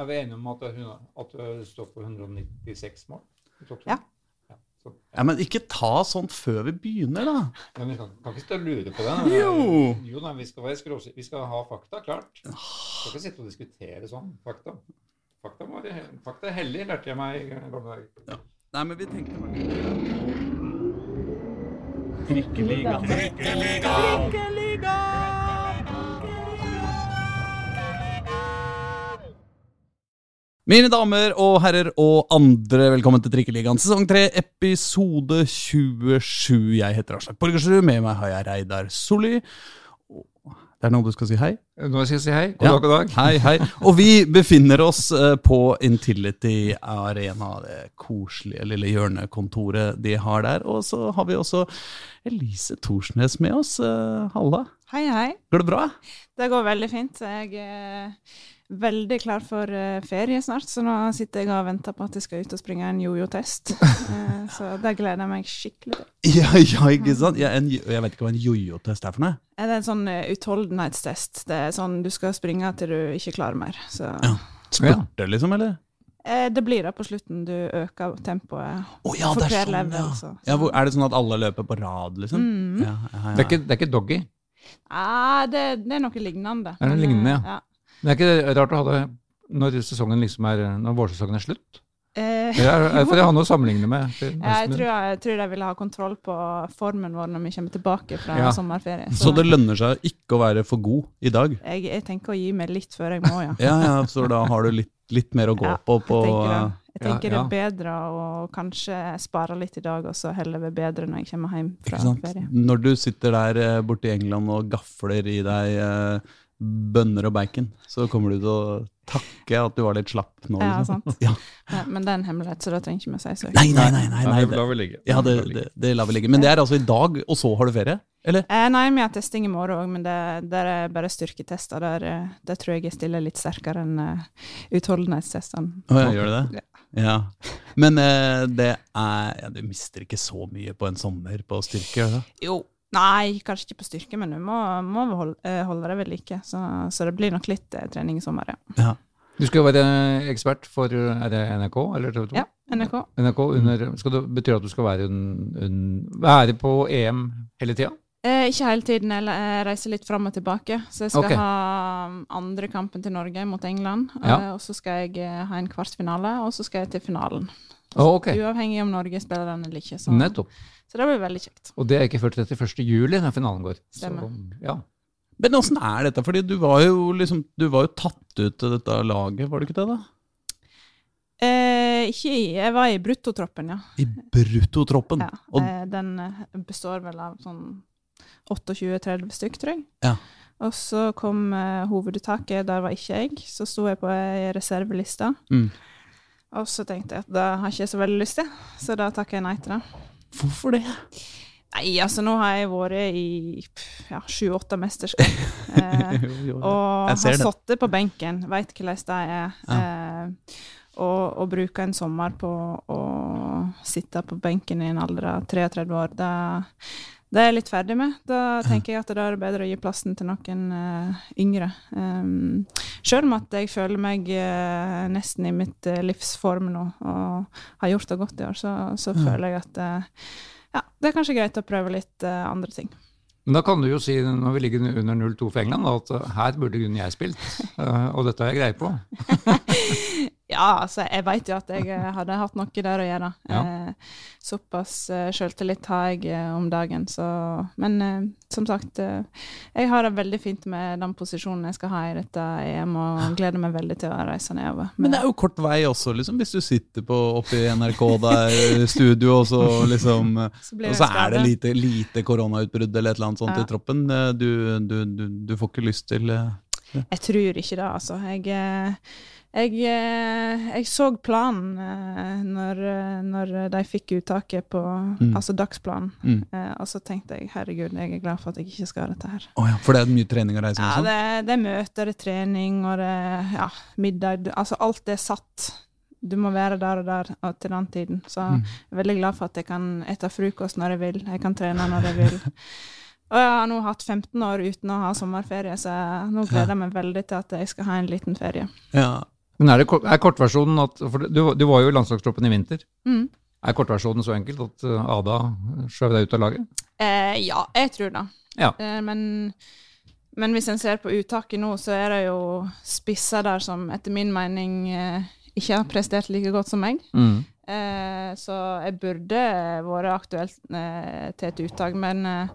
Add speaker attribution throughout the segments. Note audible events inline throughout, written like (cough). Speaker 1: er vi enige om at, hun, at du står for 196 mål? i toppen?
Speaker 2: Ja.
Speaker 1: ja så,
Speaker 3: Ja, men ikke ta sånt før vi begynner, da.
Speaker 1: ja, men vi kan, kan ikke stå og lure på det.
Speaker 3: Jo.
Speaker 1: jo nei, vi, skal være skråsik- vi skal ha fakta, klart. Vi skal ikke sitte og diskutere sånn. Fakta. Fakta, må være, fakta er hellig, lærte jeg meg i gamle dager.
Speaker 3: Nei, men vi tenkte Mine damer og herrer og andre, velkommen til Trikkeligaen sesong 3, episode 27. Jeg heter Aslak Borgersrud, med meg har jeg Reidar Solli. Og- Det er nå du skal si hei?
Speaker 1: Nå skal jeg si hei.
Speaker 3: Ja. Hei, hei. Og vi befinner oss eh, på Intility Arena, det koselige lille hjørnekontoret de har der. Og så har vi også Elise Thorsnes med oss. Eh, Halla.
Speaker 2: Hei, hei.
Speaker 3: Går det bra?
Speaker 2: Det går veldig fint. Jeg er veldig klar for eh, ferie snart, så nå sitter jeg og venter på at jeg skal ut og springe
Speaker 1: (laughs)
Speaker 2: en jojo-test. Eh, Så det gleder jeg meg skikkelig til.
Speaker 3: (laughs) Ja, ja, ikke sant? Ja, en, jeg vet ikke hva en jojo-test er for noe.
Speaker 2: Eh, Det er en sånn eh, utholdenhetstest. Det er sånn du skal springe til du ikke klarer mer. Så
Speaker 3: Ja. Spurte, liksom, eller?
Speaker 2: Eh, det blir det på slutten. Du øker tempoet.
Speaker 3: Å ja, det
Speaker 2: For
Speaker 3: er
Speaker 2: hver
Speaker 3: sånn,
Speaker 2: level,
Speaker 3: ja.
Speaker 2: altså.
Speaker 3: ja hvor, er det sånn at alle løper på rad, liksom?
Speaker 2: Mm.
Speaker 3: Ja, ja, ja.
Speaker 1: Det er ikke, det er ikke doggy.
Speaker 2: Ah, det, det er noe lignende.
Speaker 1: Er det
Speaker 2: Men, eh,
Speaker 1: lignende, ja?
Speaker 2: ja.
Speaker 1: Men det er ikke rart å ha det når, sesongen liksom er, når vårsesongen er slutt.
Speaker 2: Eh,
Speaker 1: Det er, er for jeg har noe å sammenligne med.
Speaker 2: Jeg tror, jeg tror de ville ha kontroll på formen vår når vi kommer tilbake fra
Speaker 1: Ja.
Speaker 2: sommerferie.
Speaker 3: Så det lønner seg ikke å være for god i dag.
Speaker 2: jeg, jeg tenker å gi meg litt før jeg må, ja.
Speaker 3: Ja, ja, så da har du litt, litt mer å gå
Speaker 2: Ja,
Speaker 3: på. på
Speaker 2: Jeg tenker, det. jeg
Speaker 1: ja,
Speaker 2: tenker
Speaker 1: ja.
Speaker 2: det er bedre å kanskje spare litt i dag, og så heller være bedre når jeg kommer hjem
Speaker 3: ikke
Speaker 2: fra
Speaker 3: sant?
Speaker 2: ferie.
Speaker 3: Når du sitter der eh, borte i England og gafler i deg eh, bønner og bacon, så kommer du til å takke at du var litt slapp nå.
Speaker 2: Ja,
Speaker 3: liksom.
Speaker 2: sant.
Speaker 3: (laughs) Ja.
Speaker 2: Men- Men det er en hemmelighet, så da trenger ikke vi si så høyt.
Speaker 3: Nei, nei, nei. nei, nei. det-
Speaker 1: vi ligge.
Speaker 3: Ja, det, det, det lar vi ligge. Men det er altså i dag, og så har du ferie? Eller?
Speaker 2: Eh, nei, vi har testing i morgen òg, men det, der er bare styrketester. Der, eh, der tror jeg jeg stiller litt sterkere enn eh, utholdenhetstestene.
Speaker 3: Å, ja, gjør du det? Ja. Men eh, det er ja, Du mister ikke så mye på en sommer på styrke, gjør du det?
Speaker 2: Jo. Nei, kanskje ikke på styrke, men du må, må holde, eh, holde deg ved like. Så, så det blir nok litt eh, trening i sommer, ja.
Speaker 3: Ja.
Speaker 1: Du skal jo være ekspert for er det NRK eller TV 2?
Speaker 2: ja NRK.
Speaker 1: NRK under, skal det, betyr det at du skal være, un, un, være på EM hele tida?
Speaker 2: Eh, ikke hele tiden, jeg le- jeg reiser litt fram og tilbake. Så jeg skal
Speaker 1: Ok.
Speaker 2: ha mm, andre kampen til Norge mot England.
Speaker 1: Ja.
Speaker 2: Eh, og så skal jeg eh, ha en kvartfinale, og så skal jeg til finalen.
Speaker 1: Å, ok.
Speaker 2: Uavhengig om Norge spiller den eller ikke. Så,
Speaker 1: Nettopp.
Speaker 2: så det blir veldig kjekt.
Speaker 1: Og det er ikke før til 31. juli når finalen går.
Speaker 2: Stemmer.
Speaker 1: ja.
Speaker 3: Men åssen er dette? Fordi du var jo liksom Du var jo tatt ut til dette laget, var du ikke det, da?
Speaker 2: Eh, ikke i, jeg var i bruttotroppen, ja.
Speaker 3: I bruttotroppen.
Speaker 1: Mm.
Speaker 2: ja.
Speaker 3: Og
Speaker 2: eh, den eh, består vel av sånn 28-30 stykk, tror jeg.
Speaker 3: Ja.
Speaker 2: Og så kom eh, hoveduttaket, der var ikke jeg. Så sto jeg på ei reserveliste.
Speaker 3: Mm.
Speaker 2: Og så tenkte jeg at det har ikke jeg så veldig lyst til, så da takka jeg nei til det.
Speaker 3: hvorfor det?
Speaker 2: Nei, altså nå har jeg vært i pff, ja, sju-åtte mesterskap. Eh,
Speaker 3: (laughs) Jo, jo, jo.
Speaker 2: og
Speaker 3: Jeg ser
Speaker 2: har
Speaker 3: det.
Speaker 2: sittet på benken, veit hvordan det er. Eh, og å bruke en sommer på å sitte på benken i en alder av 33 år, det, det er jeg litt ferdig med. Da tenker jeg at da er det bedre å gi plassen til noen eh, yngre. Um, Sjøl om at jeg føler meg eh, nesten i mitt eh, livs form nå, og har gjort det godt i år, så, så føler jeg at eh, ja, det er kanskje greit å prøve litt eh, andre ting.
Speaker 1: Men da kan du jo si, når vi ligger under 0-2 for England, da, at eh, her burde grunnen jeg
Speaker 2: (laughs)
Speaker 1: spilt, eh, og dette har jeg greie på.
Speaker 2: Ja, altså, jeg vet jo at jeg eh, hadde hatt noe der å gjøre.
Speaker 1: Ja.
Speaker 2: Eh, såpass eh, selvtillit har jeg eh, om dagen, så Men eh, som sagt, eh, jeg har det veldig fint med den posisjonen jeg skal ha i dette EM, og gleder meg veldig til å reise nedover.
Speaker 3: Men det er jo kort vei også, liksom, hvis du sitter på, oppe i NRK der,
Speaker 2: (laughs)
Speaker 3: i studio, og så liksom
Speaker 2: Så blir det
Speaker 3: Og så er det
Speaker 2: skade.
Speaker 3: lite, lite koronautbrudd eller et eller annet sånt
Speaker 2: Ja.
Speaker 3: i troppen. Eh, Du, du, du, du får ikke lyst til eh,
Speaker 2: Jeg tror ikke det, altså. Jeg, eh, jeg, eh, jeg så planen eh, når, eh, når de fikk uttaket på
Speaker 3: Mm.
Speaker 2: Altså dagsplanen,
Speaker 3: Mm.
Speaker 2: eh, og så tenkte jeg herregud, jeg er glad for at jeg ikke skal ha dette her.
Speaker 3: Å ja, for det er mye trening og reising
Speaker 2: Ja,
Speaker 3: og sånn?
Speaker 2: det, er- det er møter, det er trening og det er, ja, middag. Du- Altså alt er satt. Du må være der og der og til den tiden. Så
Speaker 3: Mm.
Speaker 2: jeg er veldig glad for at jeg kan ete frokost når jeg vil, jeg kan trene når jeg
Speaker 3: (laughs)
Speaker 2: vil. Og jeg har nå hatt 15 år uten å ha sommerferie, så jeg- nå gleder jeg meg veldig til at jeg skal ha en liten ferie.
Speaker 3: Ja.
Speaker 4: Men er, det, kor- er kortversjonen at for du, du var jo i landslagstroppen i vinter.
Speaker 2: Mm.
Speaker 4: Er kortversjonen så enkelt at eh, Ada skjøv deg ut av laget?
Speaker 2: Eh, ja, jeg tror det.
Speaker 4: Ja.
Speaker 2: Eh, men, men hvis en ser på uttaket nå, så er det jo spisser der som etter min mening eh, ikke har prestert like godt som meg.
Speaker 1: Mm.
Speaker 2: Eh, så jeg burde vært aktuelt eh, til et uttak, men, eh,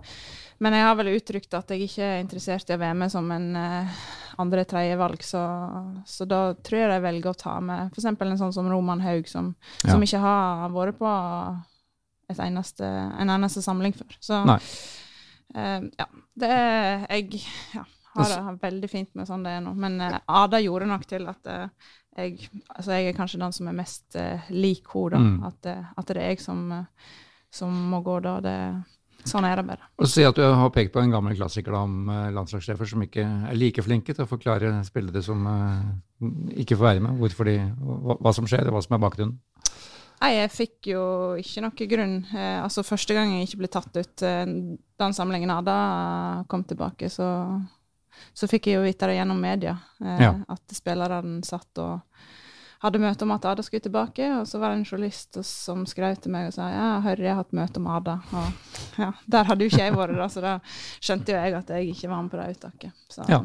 Speaker 2: men jeg har vel uttrykt at jeg ikke er interessert i å være med som en eh, andre-tredje valg, så, så da tror jeg de velger å ta med f.eks. en sånn som Roman Haug, som,
Speaker 4: Ja.
Speaker 2: som ikke har vært på et eneste, en eneste samling før. Så
Speaker 4: Nei.
Speaker 2: eh, ja, det er Jeg ja, har det veldig fint med sånn det er nå, men eh, Ada gjorde nok til at eh, jeg, altså jeg er kanskje den som er mest eh, lik henne.
Speaker 4: Mm.
Speaker 2: da. At, eh, at det er jeg som, eh, som må gå da. Det, sånn er det bare.
Speaker 4: Og si at du har pekt på en gammel klassiker da, om eh, landslagssjefer som ikke er like flinke til å forklare spillere som eh, ikke får være med, hvorfor de, hva, hva som skjer, og hva som er bakgrunnen.
Speaker 2: Nei, jeg fikk jo ikke noe grunn. Eh, altså Første gang jeg ikke ble tatt ut, eh, den samlingen Ada kom tilbake, så, så fikk jeg jo vite det gjennom media. Eh,
Speaker 4: Ja.
Speaker 2: At spillerne satt og hadde møte om at Ada skulle tilbake, og så var det en journalist og- som skrev til meg og sa ja, hører jeg har hatt møte om Ada. Og ja, der hadde jo ikke jeg vært, da, så da skjønte jo jeg at jeg ikke var med på det uttaket. Så,
Speaker 4: Ja.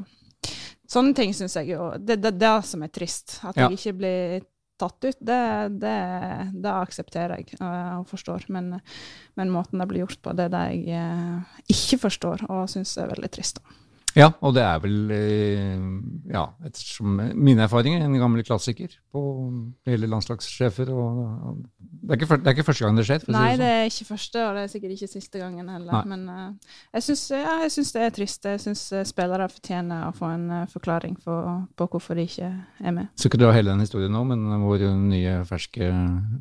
Speaker 2: Sånne ting syns jeg jo Det er det, det er som er trist. At
Speaker 4: Ja.
Speaker 2: jeg ikke blir tatt ut, det, det, det aksepterer jeg eh, og forstår. Men, men måten det blir gjort på, det er det jeg eh, ikke forstår og syns er veldig trist. Da.
Speaker 4: Ja, og det er vel, eh, ja, ettersom mine erfaringer, en gammel klassiker på hele landslagssjefer. Og, og det, er ikke, fyr- det er ikke første gang det skjer. For å
Speaker 2: Nei,
Speaker 4: si
Speaker 2: det
Speaker 4: det sånn.
Speaker 2: er ikke første, og det er sikkert ikke siste gangen heller.
Speaker 4: Nei.
Speaker 2: Men eh, jeg syns ja, jeg syns det er trist. Jeg syns eh, spillere fortjener å få en eh, forklaring for, på hvorfor de ikke er med.
Speaker 4: Skal ikke dra hele den historien nå, men vår nye ferske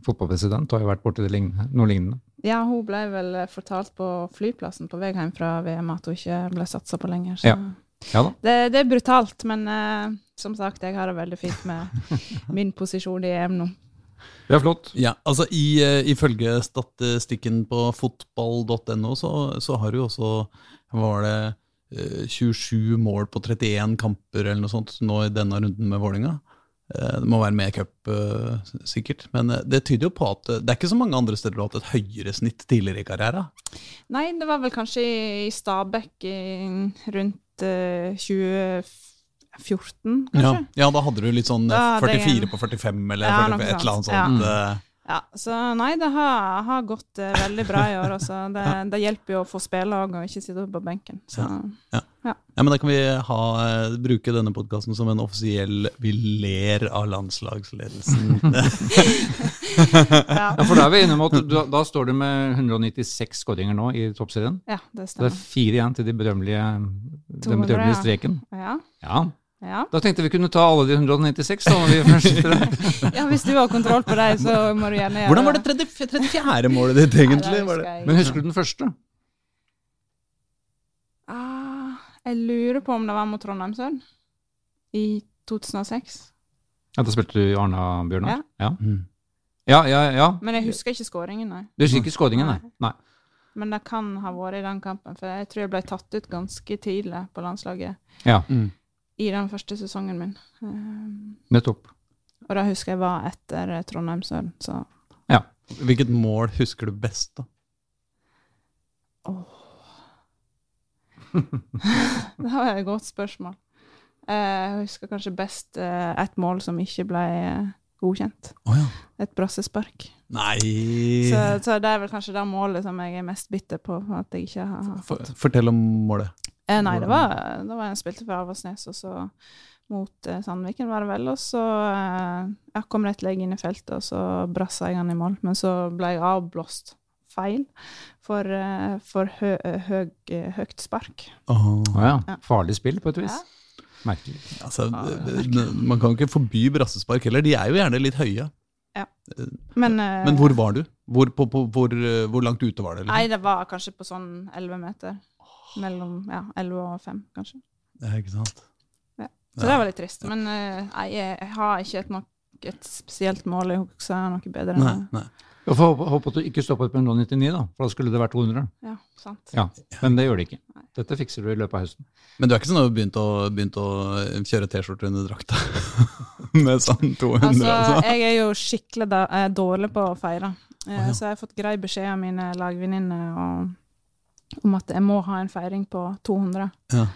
Speaker 4: fotballpresident har jo vært borti det lignende, noe lignende.
Speaker 2: Ja, hun ble vel eh, fortalt på flyplassen på vei hjem fra VM at hun ikke ble satsa på lenger. Så.
Speaker 4: Ja. Ja da.
Speaker 2: Det, det er brutalt, men eh, som sagt, jeg har det veldig fint med
Speaker 4: (laughs)
Speaker 2: min posisjon i EM nå.
Speaker 4: Det er flott.
Speaker 3: Ja, altså i, eh, Ifølge statistikken på fotball.no så, så har du jo også hva var det, eh, 27 mål på 31 kamper eller noe sånt nå i denne runden med Vålinga. Eh, Det må være med i cup, eh, s- sikkert. Men eh, det tyder jo på at eh, det er ikke så mange andre steder du har hatt et høyere snitt tidligere i karrieren.
Speaker 2: Nei, det var vel kanskje i- i Stabæk i, rundt eh, 2014,
Speaker 3: Ja,
Speaker 2: kanskje?
Speaker 3: ja, da hadde du litt sånn eh,
Speaker 2: Da hadde jeg
Speaker 3: 44
Speaker 2: en-
Speaker 3: på 45 eller
Speaker 2: Ja,
Speaker 3: 45,
Speaker 2: noe
Speaker 3: et eller annet
Speaker 2: sånt.
Speaker 3: sånt. eh,
Speaker 2: Ja. så nei, det har, har gått eh, veldig bra i år.
Speaker 3: (laughs)
Speaker 2: Altså. Det, det hjelper jo å få spille òg, og ikke sitte på benken. Så.
Speaker 3: Ja, men Da kan vi ha, eh, bruke denne podkasten som en offisiell 'vi ler av landslagsledelsen'.
Speaker 2: Ja.
Speaker 4: Ja, for da er vi enige om at du, da står du med 196 skåringer nå i toppserien.
Speaker 2: ja, det
Speaker 4: Så det er
Speaker 2: stemmer.
Speaker 4: fire igjen til de berømmelige, den
Speaker 2: 200,
Speaker 4: berømmelige
Speaker 2: ja.
Speaker 4: streken.
Speaker 2: Ja,
Speaker 4: Ja,
Speaker 2: ja.
Speaker 4: Da tenkte vi kunne ta alle de 196, da. når vi først sitter der.
Speaker 2: ja, hvis du har kontroll på deg, så må du gjerne gjøre
Speaker 3: Hvordan var det 30, 34. målet ditt,
Speaker 2: Nei,
Speaker 3: egentlig?
Speaker 2: det
Speaker 3: Var
Speaker 2: husker
Speaker 3: det?
Speaker 2: jeg
Speaker 4: Men
Speaker 2: ikke.
Speaker 4: husker du den første?
Speaker 2: ah, Jeg lurer på om det var mot Trondheim Sør i 2006.
Speaker 4: Ja, Da spilte du i Arna, Bjørnar? Ja.
Speaker 3: Mm.
Speaker 4: Ja, ja, ja.
Speaker 2: Men jeg husker ikke skåringen, nei.
Speaker 4: Du husker ikke skåringen, nei?
Speaker 2: Nei.
Speaker 4: nei.
Speaker 2: Men det kan ha vært i den kampen, for jeg tror jeg ble tatt ut ganske tidlig på landslaget
Speaker 4: Ja,
Speaker 2: i den første sesongen min. Um,
Speaker 4: nettopp.
Speaker 2: og det husker jeg var etter eh, Trondheim Sør, så (laughs)
Speaker 3: Hvilket mål husker du best, da?
Speaker 2: det var et godt spørsmål. Eh, Jeg husker kanskje best eh, et mål som ikke ble eh, godkjent.
Speaker 3: Å ja.
Speaker 2: Et brassespark.
Speaker 3: Nei
Speaker 2: Så, så det er vel kanskje det målet som jeg er mest bitter på for at jeg ikke har
Speaker 3: For, Fortell om målet.
Speaker 2: Eh, nei, det var, det var en spilte for Avaldsnes, og så mot eh, Sandviken var det vel. Og så eh, jeg kom rett legg inn i feltet, og så brassa jeg han i mål. Men så ble jeg avblåst feil for, eh, for hø høg, eh, høyt spark.
Speaker 3: Åh.
Speaker 4: Å ja.
Speaker 2: Ja.
Speaker 4: Farlig spill, på et vis. Merkelig.
Speaker 3: Altså,
Speaker 2: Ah,
Speaker 3: det- det- man kan ikke forby brassespark heller. De er jo gjerne litt høye.
Speaker 2: Men, eh,
Speaker 3: Men hvor var du? Hvor, på, på, hvor, eh, hvor langt ute var det?
Speaker 2: Nei, det var kanskje på sånn 11 meter. Mellom ja, 11 og 5, kanskje.
Speaker 3: Ja, ikke sant?
Speaker 2: Så det var litt trist. Men eh, nei, jeg, jeg har ikke et nok tok et spesielt mål. Jeg husker noe bedre enn
Speaker 3: Nei,
Speaker 2: det.
Speaker 3: nei.
Speaker 4: Jeg får håpe- håpe at du ikke stoppet med 099, da, for da skulle det vært 200.
Speaker 2: Ja, sant.
Speaker 4: Ja, Men det gjør det ikke. Dette fikser du i løpet av høsten.
Speaker 3: Men du er ikke sånn at du har begynt å, begynt å eh, kjøre T-skjorte under drakta (laughs) med sånn (laughs) 200?
Speaker 2: Altså,
Speaker 3: Altså,
Speaker 2: jeg er jo skikkelig da, eh, dårlig på å feire, eh,
Speaker 3: Å, ja.
Speaker 2: så jeg har fått grei beskjed av mine lagvenninner om- om at jeg må ha en feiring på 200.
Speaker 3: Ja.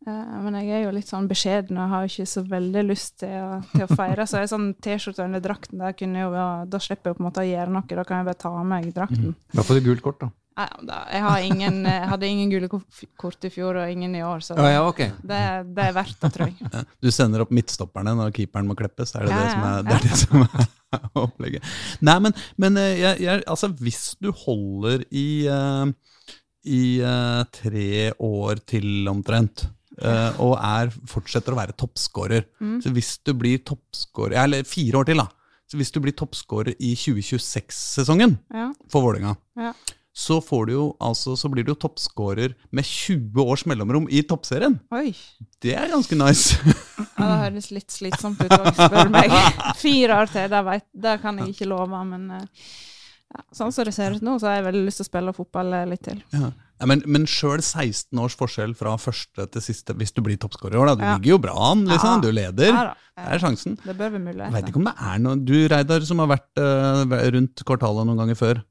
Speaker 2: Eh, Men jeg er jo litt sånn beskjeden og har ikke så veldig lyst til å, til å feire. Så jeg er sånn T-skjorte under drakten, der kunne jeg jo, være- da slipper jeg på en måte å gjøre noe. Da kan jeg bare ta av meg drakten.
Speaker 3: Mm.
Speaker 4: I hvert fall i gult kort, da.
Speaker 2: Nei, da- Jeg, har ingen, eh, jeg hadde ingen gule ko- kort i fjor og ingen i år, så
Speaker 4: Ja, ja, ok.
Speaker 2: det, det er verdt det, tror jeg.
Speaker 3: Ja. Du sender opp midtstopperne når keeperen må kleppes? Er det
Speaker 2: Ja,
Speaker 3: det som er,
Speaker 2: ja,
Speaker 3: det, er det som er (laughs) opplegget? Nei, men, men eh, jeg, jeg, altså, hvis du holder i, eh, i eh, tre år til omtrent, eh, og er, fortsetter å være toppskårer
Speaker 2: Mm.
Speaker 3: Så hvis du blir toppskårer Eller fire år til, da. Så hvis du blir toppskårer i 2026-sesongen
Speaker 2: Ja,
Speaker 3: for Vålerenga,
Speaker 2: ja.
Speaker 3: så, får du jo, altså, så blir du jo toppskårer med 20 års mellomrom i toppserien.
Speaker 2: Oi.
Speaker 3: Det er ganske nice. (laughs)
Speaker 2: Ja, det høres litt slitsomt ut òg, spør du meg. Fire år til, det, vet, det kan jeg ikke love, men eh, ja, sånn som det ser ut nå, så har jeg veldig lyst til å spille fotball eh, litt til.
Speaker 3: Ja. Ja, men men sjøl 16 års forskjell fra første til siste, hvis du blir toppskårer i år, da. Du
Speaker 2: Ja.
Speaker 3: ligger jo bra an, liksom.
Speaker 2: Ja.
Speaker 3: Du leder.
Speaker 2: Ja da.
Speaker 3: Det er sjansen.
Speaker 2: Det bør være
Speaker 3: Jeg veit
Speaker 2: muligheter.
Speaker 3: ikke om det er noe Du, Reidar, som har vært eh, rundt kvartalet noen ganger før.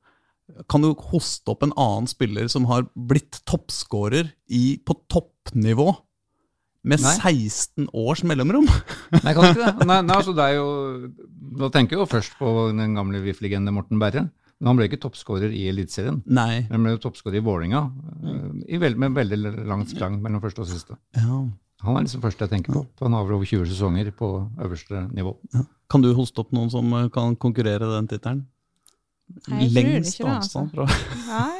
Speaker 3: Kan du hoste opp en annen spiller som har blitt toppskårer i- på toppnivå med
Speaker 4: Nei.
Speaker 3: 16 års mellomrom?
Speaker 4: Nei, kan ikke det. Nei, nei, altså det er jo, da tenker jeg jo først på den gamle VIF-legende Morten Berre. Men han ble ikke toppskårer i Eliteserien.
Speaker 3: Nei.
Speaker 4: Han ble jo toppskårer i Vålerenga, eh, i vel- med veldig lang sprang mellom første og siste.
Speaker 3: Ja.
Speaker 4: Han er liksom første jeg tenker på. for Han har vel over 20 sesonger på øverste nivå.
Speaker 3: Kan du hoste opp noen som eh, kan konkurrere den tittelen?
Speaker 2: Nei, jeg tror
Speaker 3: Lengst
Speaker 2: ikke det, altså.
Speaker 3: avstand fra
Speaker 2: Nei,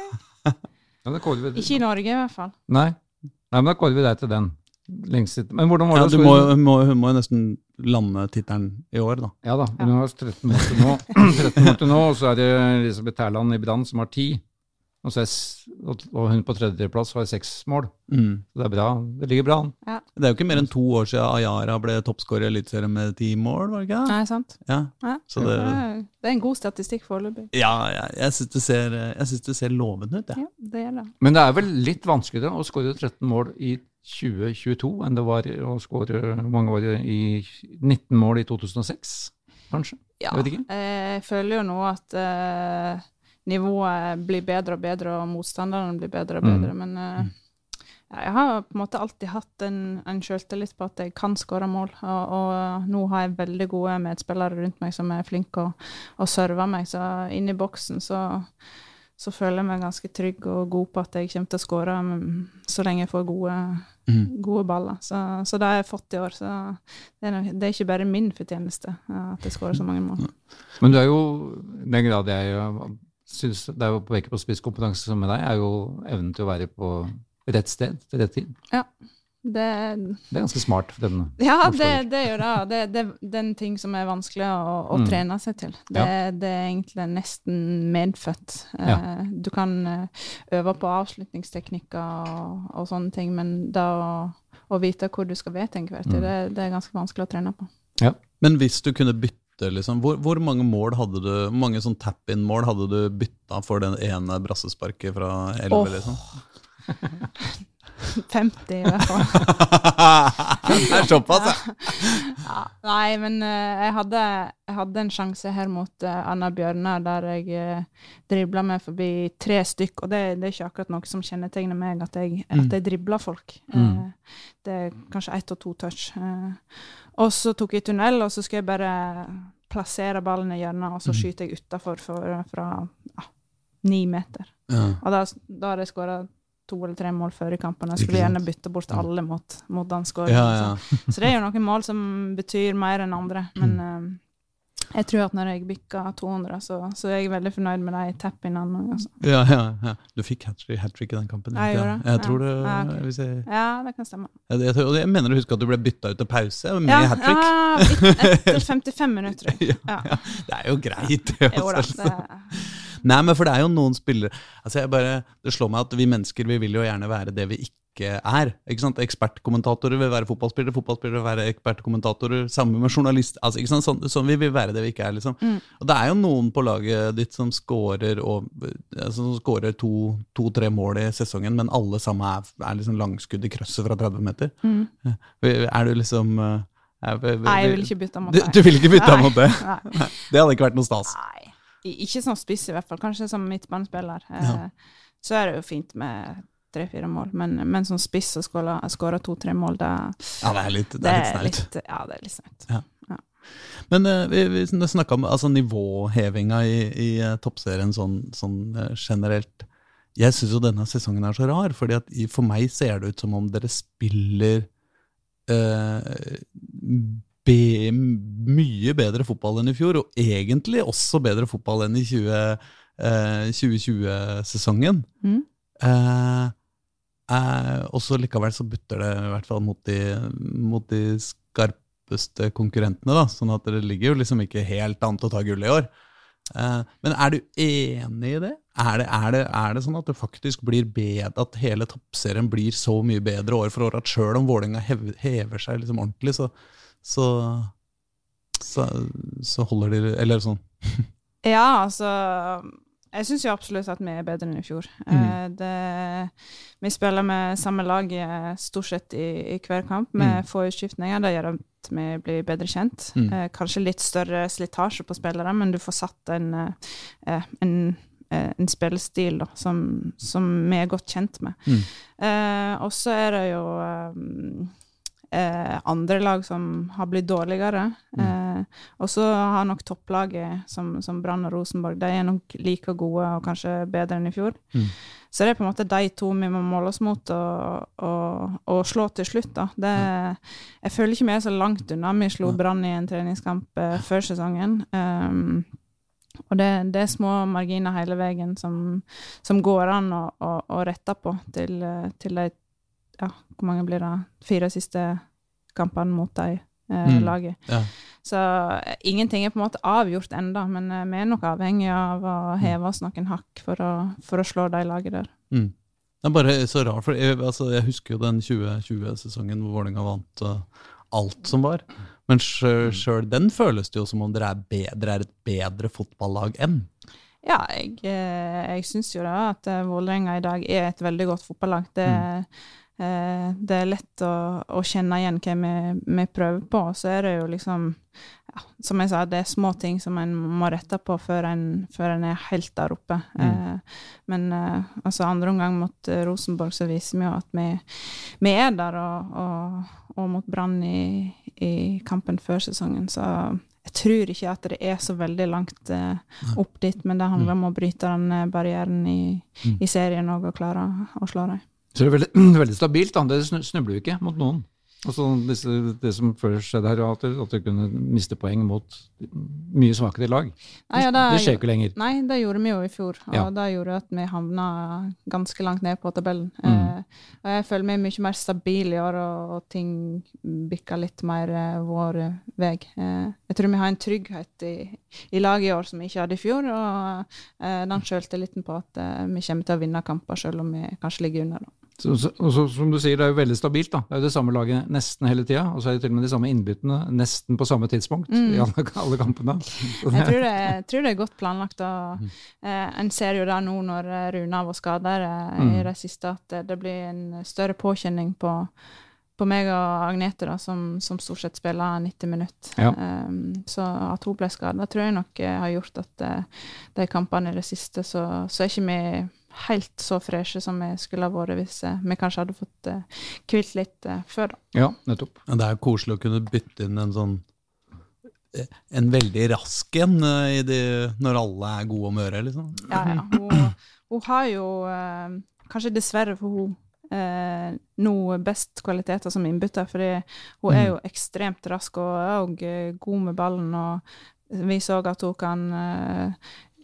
Speaker 4: Ja, da kårer vi
Speaker 2: ikke i Norge i hvert fall.
Speaker 4: Nei. nei, men da kårer vi deg til den. Lengst sitt. Men hvordan var det
Speaker 3: ja,
Speaker 4: å
Speaker 3: du
Speaker 4: score-
Speaker 3: må, må, Hun må jo nesten lande tittelen i år, da.
Speaker 4: Ja da,
Speaker 2: Ja.
Speaker 4: hun har 13 mål til nå, (clears throat) 13 mål til nå og så er det Elisabeth Terland i Brann som har 10. Og, så er, s- og og hun på tredjeplass har 6 mål. Så det er bra. Det ligger bra an.
Speaker 3: Det er jo ikke mer enn to år siden Ayara ble toppskårer i Eliteserien med ti mål, var det ikke det?
Speaker 2: Nei, sant?
Speaker 3: Ja,
Speaker 2: Nei.
Speaker 3: så Ah. det,
Speaker 2: Det er- det er en god statistikk foreløpig.
Speaker 3: ja jeg, jeg syns det, ser- jeg synes det ser lovende ut, jeg.
Speaker 2: Ja, det er det.
Speaker 4: Men det er vel litt vanskeligere å skåre 13 mål i 2022 enn det var å skåre hvor mange var det, i 19 mål i 2006, kanskje?
Speaker 2: Ja,
Speaker 4: Jeg vet ikke.
Speaker 2: eh, jeg føler jo nå at eh, nivået blir bedre og bedre, og motstanderne blir bedre og
Speaker 4: Mm.
Speaker 2: bedre, men eh, ja, jeg har på en måte alltid hatt en, en sjøltillit på at jeg kan skåre mål, og, og eh, nå har jeg veldig gode medspillere rundt meg som er flinke å, å serve meg, så inni boksen så så føler jeg meg ganske trygg og god på at jeg kommer til å skåre mm, så lenge jeg får gode,
Speaker 4: Mm.
Speaker 3: Mhm.
Speaker 2: gode baller. Så, så det har jeg fått i år. Så det er, nok- det er ikke bare min fortjeneste eh, at jeg skårer så mange mål.
Speaker 4: Men du er jo, i den grad jeg syns det er å peke på spisskompetanse som med deg, er jo evnen til å være på rett sted til rett tid.
Speaker 2: Det,
Speaker 4: Det er ganske smart. Den.
Speaker 2: ja,
Speaker 4: Hvorfor?
Speaker 2: det, det er jo da- det. Det er den ting som er vanskelig å, å
Speaker 4: Mm.
Speaker 2: trene seg til. Det, det er egentlig nesten medfødt. Eh, Du kan eh, øve på avslutningsteknikker og, og sånne ting, men da å, å vite hvor du skal være til enhver tid,
Speaker 4: Mm.
Speaker 2: det, det er ganske vanskelig å trene på. (laughs)
Speaker 3: Men hvis du kunne bytte, liksom, hvor, hvor mange mål hadde du, hvor mange sånn tap-in-mål hadde du bytta for den ene brassesparket fra 11,
Speaker 2: Åh.
Speaker 3: liksom? (laughs)
Speaker 2: 50 i hvert fall.
Speaker 3: det er såpass, ja!
Speaker 2: Ja, nei, men eh, jeg, hadde, jeg hadde en sjanse her mot eh, Anna Bjørnar der jeg uh, dribla meg forbi tre stykk, og det, det er ikke akkurat noe som kjennetegner meg, at jeg,
Speaker 3: Mm.
Speaker 2: at jeg dribler folk. Eh,
Speaker 4: Mm.
Speaker 2: det er kanskje ett og to touch. eh. og så tok jeg tunnel, og så skulle jeg bare plassere ballen i hjørnet,
Speaker 3: Mm.
Speaker 2: og så skyter jeg utafor fra ja, ni meter.
Speaker 3: ja.
Speaker 2: Og da, da hadde jeg skåra to eller tre mål før i kampen. Jeg
Speaker 3: Ikke
Speaker 2: skulle gjerne
Speaker 3: sant?
Speaker 2: bytte bort alle mot, mot den skåringen.
Speaker 3: Ja,
Speaker 2: så-
Speaker 3: ja.
Speaker 2: så det er jo noen mål som betyr mer enn andre. Men
Speaker 3: Mm.
Speaker 2: eh, jeg tror at når jeg bikker 200, så, så er jeg veldig fornøyd med de tappinene. Altså.
Speaker 3: Ja, ja, ja. Du fikk hat trick hat trick i den kampen.
Speaker 2: Jeg
Speaker 3: ikke?
Speaker 2: gjorde det,
Speaker 3: Jeg
Speaker 2: ja.
Speaker 3: tror det,
Speaker 2: Ja, ok.
Speaker 3: hvis jeg,
Speaker 2: Ja, det kan stemme.
Speaker 3: jeg, jeg, tror- jeg mener å huske at du ble bytta ut til pause med
Speaker 2: Ja,
Speaker 3: hat trick.
Speaker 2: ja, etter 55 minutter, tror jeg.
Speaker 3: (laughs) Ja,
Speaker 2: Ja.
Speaker 3: ja. Det er jo greit, det.
Speaker 2: Jo da.
Speaker 3: altså.
Speaker 2: Det,
Speaker 3: Nei, men for det er jo noen spillere altså jeg bare, Det slår meg at vi mennesker vi vil jo gjerne være det vi ikke ikke er. Ikke sant? Ekspertkommentatorer vil være fotballspillere, fotballspillere vil være ekspertkommentatorer. Samme med journalist. Altså, ikke sant? Sånn, sånn, vi vil være det vi ikke er. liksom.
Speaker 2: Mm.
Speaker 3: Og Det er jo noen på laget ditt som scorer og- altså, som scorer to- to-tre mål i sesongen, men alle sammen er, er liksom langskudd i krøsset fra 30 meter.
Speaker 2: Mm.
Speaker 3: Er du liksom eh, er,
Speaker 2: Nei, jeg vil ikke bytte mot
Speaker 3: du, du vil ikke bytte deg
Speaker 2: Nei.
Speaker 3: mot det?
Speaker 2: Nei.
Speaker 3: Det hadde ikke vært noe stas.
Speaker 2: Nei. I- Ikke som spiss, i hvert fall. Kanskje som midtbanespiller. Eh,
Speaker 3: Ja.
Speaker 2: Så er det jo fint med tre-fire mål, men, men som spiss å skåre skåre to-tre mål, da-
Speaker 3: Ja, det er litt, det
Speaker 2: det
Speaker 3: er litt
Speaker 2: er
Speaker 3: snaut.
Speaker 2: litt Ja, det er litt snaut.
Speaker 3: Men eh, vi, vi snakka om altså, nivåhevinga i, i eh, toppserien sånn, sånn eh, generelt. Jeg syns jo denne sesongen er så rar, fordi at i, for meg ser det ut som om dere spiller eh, be, mye bedre fotball enn i fjor, og egentlig også bedre fotball enn i 20, eh, 2020-sesongen.
Speaker 2: Mm.
Speaker 3: Eh, eh, og så likevel så butter det i hvert fall mot de, mot de skarpeste konkurrentene, da. Sånn at det ligger jo liksom ikke helt an til å ta gull i år. Eh, men er du enig i det? Er det, er, det, er det sånn at det faktisk blir bedre, at hele toppserien blir så mye bedre år for år at sjøl om Vålerenga hev- hever seg liksom ordentlig, så, så, så, så holder de Eller sånn
Speaker 2: Ja, altså Jeg syns jo absolutt at vi er bedre enn i fjor. Eh, det, vi spiller med samme lag eh, stort sett i, i hver kamp, med
Speaker 3: Mm.
Speaker 2: få utskiftninger. Det gjør at vi blir bedre kjent.
Speaker 3: Mm.
Speaker 2: Eh, kanskje litt større slitasje på spillere, men du får satt en, eh, eh, en, eh, en spillestil da, som, som vi er godt kjent med.
Speaker 3: Mm.
Speaker 2: Eh, og så er det jo eh, eh, andre lag som har blitt dårligere.
Speaker 3: Mm.
Speaker 2: Eh, og så har nok topplaget, som, som Brann og Rosenborg, de er nok like gode og kanskje bedre enn i fjor.
Speaker 3: Mm.
Speaker 2: Så det er på en måte de to vi må måle oss mot og, og, og slå til slutt. Da. Det, jeg føler ikke vi er så langt unna. Vi slo
Speaker 3: Nei.
Speaker 2: Brann i en treningskamp eh, før sesongen. Um, og det, det er små marginer hele veien som, som går an å, å, å rette på til, eh, til de ja, Hvor mange blir det? Fire siste kampene mot de eh,
Speaker 3: Mm.
Speaker 2: laget.
Speaker 3: ja.
Speaker 2: Så eh, ingenting er på en måte avgjort enda, men eh, vi er nok avhengig av å heve oss noen hakk for å, for å slå de lagene der.
Speaker 3: Mm. Det er bare så rart, for jeg, altså, jeg husker jo den 2020-sesongen hvor Vålerenga vant eh, alt som var. Men sjøl den føles det jo som om dere er, bedre, er et bedre fotballag enn.
Speaker 2: Ja, jeg, eh, jeg syns jo da at eh, Vålerenga i dag er et veldig godt fotballag. Det, eh, det er lett å, å kjenne igjen hva vi, vi prøver på. Og så er det jo liksom ja, Som jeg sa, det er små ting som en må rette på før en, før en er helt der oppe.
Speaker 3: Mm.
Speaker 2: Eh, men eh, altså andre omgang mot eh, Rosenborg så viser vi jo at vi, vi er der, og, og, og mot Brann i, i kampen før sesongen. Så jeg tror ikke at det er så veldig langt eh, opp dit, men det handler
Speaker 4: Mm.
Speaker 2: om å bryte den eh, barrieren i,
Speaker 3: Mm.
Speaker 2: i serien òg, og klare å slå dem.
Speaker 4: Så det er veldig, (clears throat) veldig stabilt. Da. Det snu- snubler jo ikke mot noen. Altså, disse, det som før skjedde her, at du, at du kunne miste poeng mot mye svakere lag.
Speaker 2: Nei, ja,
Speaker 4: det
Speaker 2: det-
Speaker 4: skjer jo ikke lenger.
Speaker 2: Nei, det gjorde vi jo i fjor, og
Speaker 4: Ja.
Speaker 2: det gjorde at vi havna ganske langt ned på tabellen.
Speaker 4: Mm.
Speaker 2: Eh, og jeg føler meg mye mer stabil i år, og, og ting bikker litt mer eh, vår eh, vei. Eh, jeg tror vi har en trygghet i, i laget i år som vi ikke hadde i fjor, og eh, den sjøltilliten på at eh, vi kommer til å vinne kamper selv om vi kanskje ligger under. Da.
Speaker 4: Så, så, og så, som du sier, det er jo veldig stabilt. da. Det er jo det samme laget nesten hele tida. Og så er det til og med de samme innbyttene nesten på samme tidspunkt
Speaker 2: Mm.
Speaker 4: i alle, alle kampene. Så
Speaker 2: Jeg
Speaker 4: det,
Speaker 2: tror det, jeg tror det er godt planlagt. Og,
Speaker 4: Mm.
Speaker 2: eh, en ser jo det nå når eh, Runa var skada eh, i
Speaker 4: Mm.
Speaker 2: det siste, at eh, det blir en større påkjenning på, på meg og Agnete, da, som, som stort sett spiller 90 minutter.
Speaker 4: Ja.
Speaker 2: Eh, så at hun ble skada, tror jeg nok eh, har gjort at eh, de kampene i det siste, så, så er ikke vi helt så freshe som vi skulle ha vært hvis eh, vi kanskje hadde fått eh, hvilt litt eh, før, da.
Speaker 4: ja, nettopp.
Speaker 3: Men det er jo koselig å kunne bytte inn en sånn eh, en veldig rask en eh, i de, når alle er gode om øret, liksom.
Speaker 2: Ja, ja. Hun, hun har jo eh, Kanskje dessverre for hun eh, nå best kvaliteter som innbytter, fordi hun er jo ekstremt rask og, og eh, god med ballen. Og vi så at hun kan eh,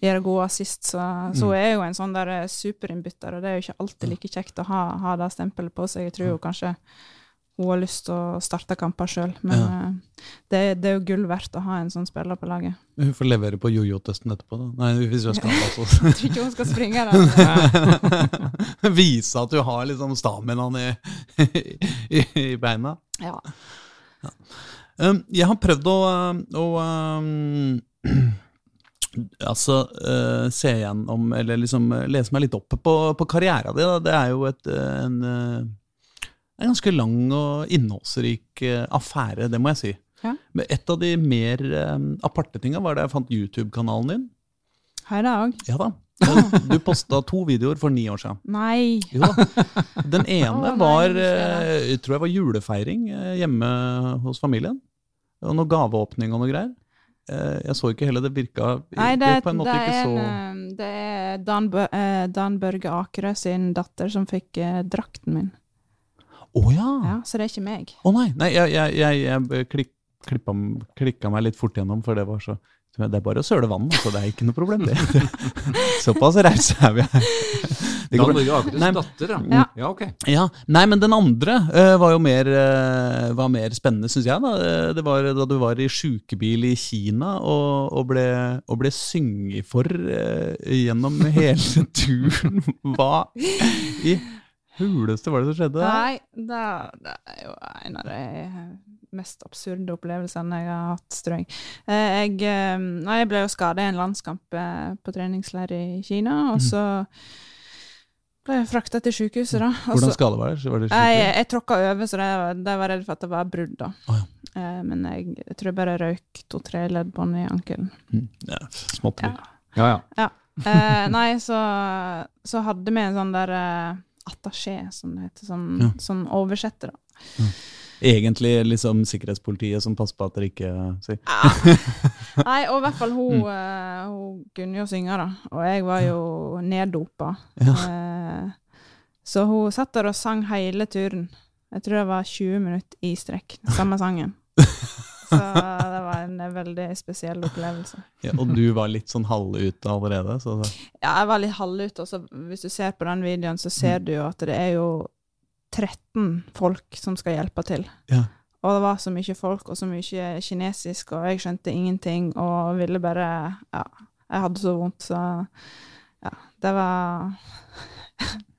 Speaker 2: gjøre gode assist, så, så hun er jo en sånn der eh, superinnbytter, og det er jo ikke alltid like kjekt å ha, ha det stempelet på seg. Jeg tror jo kanskje hun har lyst til å starte kamper sjøl. Men eh, det, det er jo gull verdt å ha en sånn spiller på laget.
Speaker 3: Hun får levere på jojo-testen etterpå. da. Nei, hvis (laughs) altså hun er skada også.
Speaker 2: Jeg tror ikke hun skal springe den.
Speaker 3: Vise at du har liksom staminaen i, i, (laughs) i beina.
Speaker 2: Ja.
Speaker 3: Um, jeg har prøvd å, um, å um, (clears throat) Altså eh, se igjennom, eller liksom eh, lese meg litt opp på, på karriera di. Da. Det er jo et, eh, en, eh, en ganske lang og innholdsrik eh, affære, det må jeg si.
Speaker 2: Ja.
Speaker 3: Men et av de mer eh, aparte tinga var da jeg fant YouTube-kanalen din.
Speaker 2: Har jeg det òg?
Speaker 3: Ja da. Du posta to videoer for ni år siden.
Speaker 2: Nei.
Speaker 3: Jo
Speaker 2: (laughs)
Speaker 3: da. Den ene
Speaker 2: Å, nei,
Speaker 3: var
Speaker 2: det skjer,
Speaker 3: eh, jeg tror jeg var julefeiring eh, hjemme hos familien. Og noe gaveåpning og noe greier. Eh, Jeg så ikke heller, det virka
Speaker 2: Nei, det,
Speaker 3: på en måte
Speaker 2: det, er,
Speaker 3: ikke så
Speaker 2: en, eh, det er Dan, Bø- eh, Dan Børge Akerø sin datter som fikk eh, drakten min.
Speaker 3: Å ja! Å
Speaker 2: Ja, så det er ikke meg.
Speaker 3: nei! nei jeg jeg, jeg, jeg klik, klippa, klikka meg litt fort gjennom, for det var så Det er bare å søle vann, altså. Det er ikke noe
Speaker 2: (laughs)
Speaker 3: problem, det. (laughs) Såpass rause er vi her. Det går
Speaker 4: Dan
Speaker 3: bra.
Speaker 4: Børge Akerøs
Speaker 3: Nei.
Speaker 4: datter, da.
Speaker 2: Ja.
Speaker 4: ja ok.
Speaker 3: Ja, Nei, men den andre eh, var jo mer, eh, var mer spennende, syns jeg. da. Eh, Det var da du var i sjukebil i Kina og, og ble, og ble synget for eh,
Speaker 2: (laughs)
Speaker 3: gjennom hele turen. Hva i huleste var det som skjedde? der?
Speaker 2: Nei, det, det er jo en av de eh, mest absurde opplevelsene jeg har hatt, tror jeg. Eh, Jeg, eh, nei, jeg ble jo skada i en landskamp eh, på treningsleir i Kina,
Speaker 3: Mhm.
Speaker 2: og så ble jeg frakta til sykehuset, da. Og så-
Speaker 3: Hvordan skade var det? Var det
Speaker 2: altså- Nei,
Speaker 3: skikkelig?
Speaker 2: jeg, jeg tråkka over, så de var- de var redd for at det var brudd, da.
Speaker 3: Å,
Speaker 2: Eh, Men jeg, jeg tror jeg bare røyk to-tre leddbånd i ankelen.
Speaker 3: ja, Småtteri.
Speaker 4: Ja, ja.
Speaker 3: (laughs)
Speaker 2: Eh, nei, så, så hadde vi en sånn der eh, attaché, som det heter, som,
Speaker 3: Ja.
Speaker 2: som oversetter. Da.
Speaker 3: Egentlig liksom sikkerhetspolitiet som passer på at dere ikke sier
Speaker 2: Nei, og i hvert fall hun,
Speaker 3: Mm.
Speaker 2: eh, hun kunne jo synge, da. Og jeg var jo neddopa. Eh, så hun satt der og sang hele turen. Jeg tror det var 20 minutter i strekk, samme
Speaker 3: (laughs)
Speaker 2: sangen. Så det var en veldig spesiell opplevelse.
Speaker 3: ja, Og du var litt sånn halvute allerede? Så,
Speaker 2: Ja, jeg var litt halvute. og så Hvis du ser på den videoen, så ser du jo at det er jo 13 folk som skal hjelpe til.
Speaker 3: Ja.
Speaker 2: Og det var så mye folk, og så mye kinesisk, og jeg skjønte ingenting, og ville bare Ja, jeg hadde så vondt, så Ja, det var (laughs)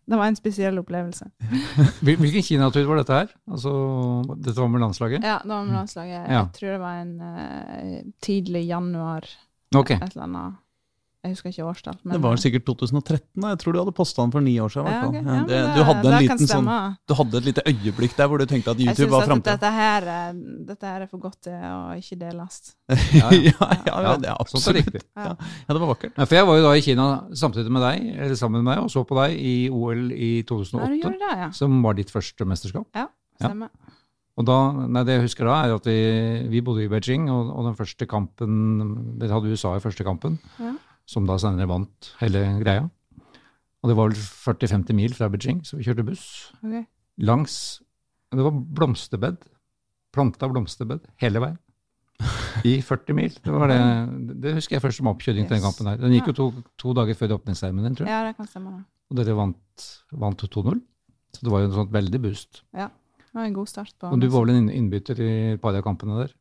Speaker 2: Det var en spesiell opplevelse.
Speaker 4: Hvil- Hvilken kinatur var dette her? Altså, dette var med landslaget?
Speaker 2: Ja, det var
Speaker 3: Mm.
Speaker 2: med landslaget.
Speaker 4: Ja.
Speaker 2: Jeg tror det var en eh, tidlig januar,
Speaker 4: Ok.
Speaker 2: et eller annet. Jeg husker ikke årstall.
Speaker 3: det var sikkert 2013, da. Jeg tror du hadde posta den for ni år siden. i
Speaker 2: eh,
Speaker 3: hvert
Speaker 2: ja,
Speaker 3: fall.
Speaker 2: ok.
Speaker 3: Ja,
Speaker 2: ja,
Speaker 3: det,
Speaker 2: men
Speaker 3: du hadde en
Speaker 2: det kan
Speaker 3: liten sånn
Speaker 2: stemme.
Speaker 3: Du hadde et lite øyeblikk der hvor du tenkte at
Speaker 2: Jeg
Speaker 3: YouTube
Speaker 2: syns
Speaker 3: var
Speaker 2: at
Speaker 3: framtida.
Speaker 2: dette her, eh, dette her er for godt til å ikke deles.
Speaker 3: (laughs) Ja, ja, ja,
Speaker 4: Ja,
Speaker 3: det er
Speaker 4: sånt er
Speaker 3: absolutt.
Speaker 4: riktig.
Speaker 3: Ja. ja, det var vakkert.
Speaker 4: Ja, for jeg var jo da i Kina samtidig med deg, eller sammen med meg, og så på deg i OL i
Speaker 2: Ja, du
Speaker 4: 2008,
Speaker 2: gjorde det, ja.
Speaker 4: som var ditt første mesterskap. Ja.
Speaker 2: Stemmer.
Speaker 4: Og da, nei, det jeg husker da, er at vi, vi bodde i Beijing, og, og den første kampen Vi hadde USA i første kampen,
Speaker 2: Ja.
Speaker 4: som da senere vant hele greia. Og det var vel 40-50 mil fra Beijing, så vi kjørte buss
Speaker 2: Ok.
Speaker 4: langs Det var blomsterbed. Planta blomsterbed hele veien. I 40 mil. Det, var det, det husker jeg først som oppkjøring til den
Speaker 2: Yes.
Speaker 4: kampen her. Den gikk jo to, to dager før åpningsseremonien, tror jeg.
Speaker 2: Ja, det kan stemme. det.
Speaker 4: Og dere vant, vant 2-0. Så det var jo en sånn veldig boost.
Speaker 2: Det var en god start på
Speaker 4: Og du var vel en inn- innbytter i et par av kampene der?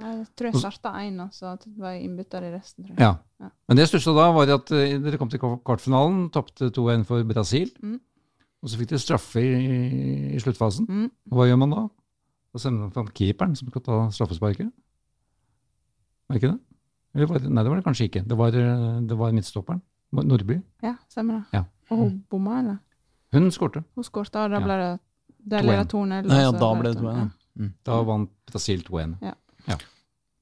Speaker 2: Jeg tror jeg starta én, og så var jeg innbytter i resten, tror jeg.
Speaker 4: Ja.
Speaker 2: Ja.
Speaker 4: Men det jeg stussa da, var at eh, dere kom til kva- kvartfinalen, tapte 2-1 for Brasil.
Speaker 2: Mm.
Speaker 4: Og så fikk dere straffe i, i sluttfasen.
Speaker 2: Mm.
Speaker 4: Og hva gjør man da? Da sender man fram keeperen som skal ta straffesparket. Var det ikke det? Eller var det? Nei, det var det kanskje ikke. Det var, eh, det var midtstopperen. Nordby.
Speaker 2: Ja, stemmer det.
Speaker 4: Ja.
Speaker 2: Og hun bomma, eller?
Speaker 4: Hun skårte.
Speaker 2: Hun skårte, og da
Speaker 4: Ja.
Speaker 2: ble det da
Speaker 4: To
Speaker 2: ble
Speaker 4: en.
Speaker 2: det 2-0.
Speaker 3: Nei,
Speaker 2: og
Speaker 3: ja,
Speaker 2: så
Speaker 3: da ble det
Speaker 2: to en,
Speaker 3: 2-1.
Speaker 4: Da vant Brasil 2-1.
Speaker 2: Mm. Ja.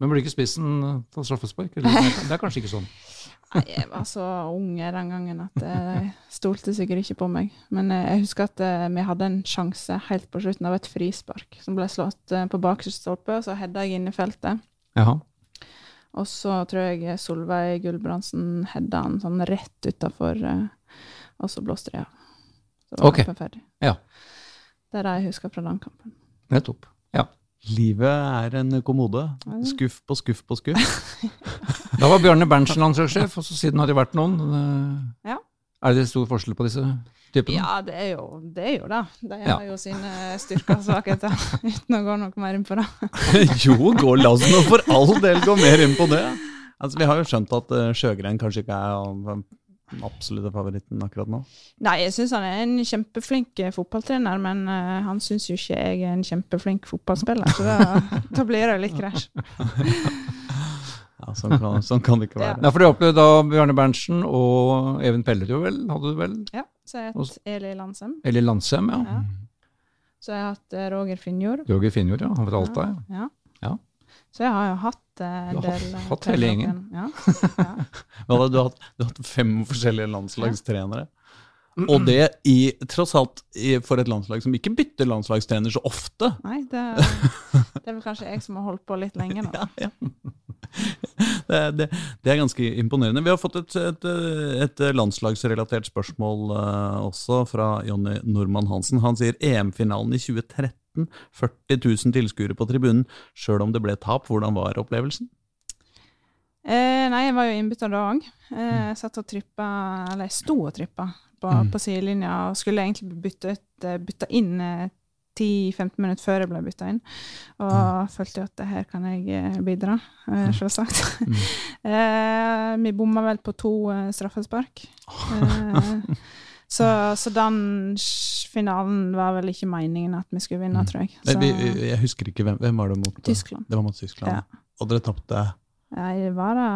Speaker 4: Men burde ikke spissen eh, ta straffespark?
Speaker 2: (laughs)
Speaker 4: Eller? Det er kanskje ikke sånn.
Speaker 2: ja. Nei, jeg var så unge den gangen at eh, de stolte sikkert ikke på meg. Men eh, jeg husker at eh, vi hadde en sjanse helt på slutten av et frispark som ble slått eh, på bakerste stolpe, og så hedda jeg inn i feltet.
Speaker 4: Jaha.
Speaker 2: Og så tror jeg Solveig Gulbrandsen hedda han sånn rett utafor, og så blåste de av. Så var
Speaker 4: Ok.
Speaker 2: kampen ferdig.
Speaker 4: Ja.
Speaker 2: Det er det jeg husker fra den kampen.
Speaker 4: Nettopp. Ja.
Speaker 3: Livet er en kommode. Skuff på skuff på skuff. (laughs)
Speaker 4: Da var Bjarne Berntsen landslagssjef, og så siden har det vært noen. eh,
Speaker 2: Ja.
Speaker 4: Er det stor forskjell på disse typene?
Speaker 2: Ja, det er jo det. Er jo det. De
Speaker 4: Ja.
Speaker 2: har jo sine styrker og svakheter, (laughs) uten å gå noe mer inn på det.
Speaker 3: jo, gå, la oss nå for all del gå mer inn på det. Altså, vi har jo skjønt at eh, sjøgren kanskje ikke er av, eh, den absolutte favoritten akkurat nå.
Speaker 2: Nei, jeg syns han er en kjempeflink eh, fotballtrener, men eh, han syns jo ikke jeg er en kjempeflink fotballspiller, så da, (laughs) da blir det litt krasj.
Speaker 3: Ja, sånn, kan, sånn kan det ikke
Speaker 2: Ja.
Speaker 3: være.
Speaker 4: Ja, for du opplevde da Bjarne Berntsen og Even Pellerud, vel? Hadde du vel?
Speaker 2: Ja, så jeg har hatt Eli Landsem.
Speaker 4: Eller Landsem, ja.
Speaker 2: Ja. Så jeg har hatt eh, Roger Finjord.
Speaker 4: Roger Finjord, ja. Han fra Alta, ja.
Speaker 2: Ja.
Speaker 4: Ja.
Speaker 2: Så jeg har jo hatt eh, en
Speaker 4: Du har
Speaker 2: del
Speaker 4: hatt-
Speaker 2: eh,
Speaker 4: hatt hele gjengen.
Speaker 2: Ja. Ja.
Speaker 3: Hva da, du, har, hatt- du har hatt fem forskjellige landslagstrenere. Og det i, tross alt i, for et landslag som ikke bytter landslagstrener så ofte.
Speaker 2: Nei, det, det er vel kanskje jeg som har holdt på litt lenge nå.
Speaker 3: Ja, ja. Det, er- det, det er ganske imponerende. Vi har fått et, et, et landslagsrelatert spørsmål eh, også fra Jonny Normann Hansen. Han sier EM-finalen i 2013. 40 000 tilskuere på tribunen. Sjøl om det ble tap, hvordan var opplevelsen?
Speaker 2: Eh, nei, jeg var jo innbytter da òg. Eh,
Speaker 3: Mm.
Speaker 2: jeg satt og trippa, eller jeg sto og trippa på, på sidelinja og skulle egentlig bytte, ut, eh, bytte inn eh, 10-15 minutter før jeg ble bytta inn. Og
Speaker 3: Mm.
Speaker 2: følte jo at det her kan jeg eh, bidra, eh, selvsagt.
Speaker 3: Mm.
Speaker 2: (laughs) eh, vi bomma vel på to eh, straffespark. Eh, så, så den s- finalen var vel ikke meningen at vi skulle vinne, tror jeg.
Speaker 3: Mm. Nei,
Speaker 2: Så,
Speaker 3: vi, vi- jeg husker ikke hvem, hvem var det mot.
Speaker 2: Tyskland.
Speaker 3: Det var mot Tyskland.
Speaker 2: Ja.
Speaker 3: Og dere tapte
Speaker 2: Nei, det var da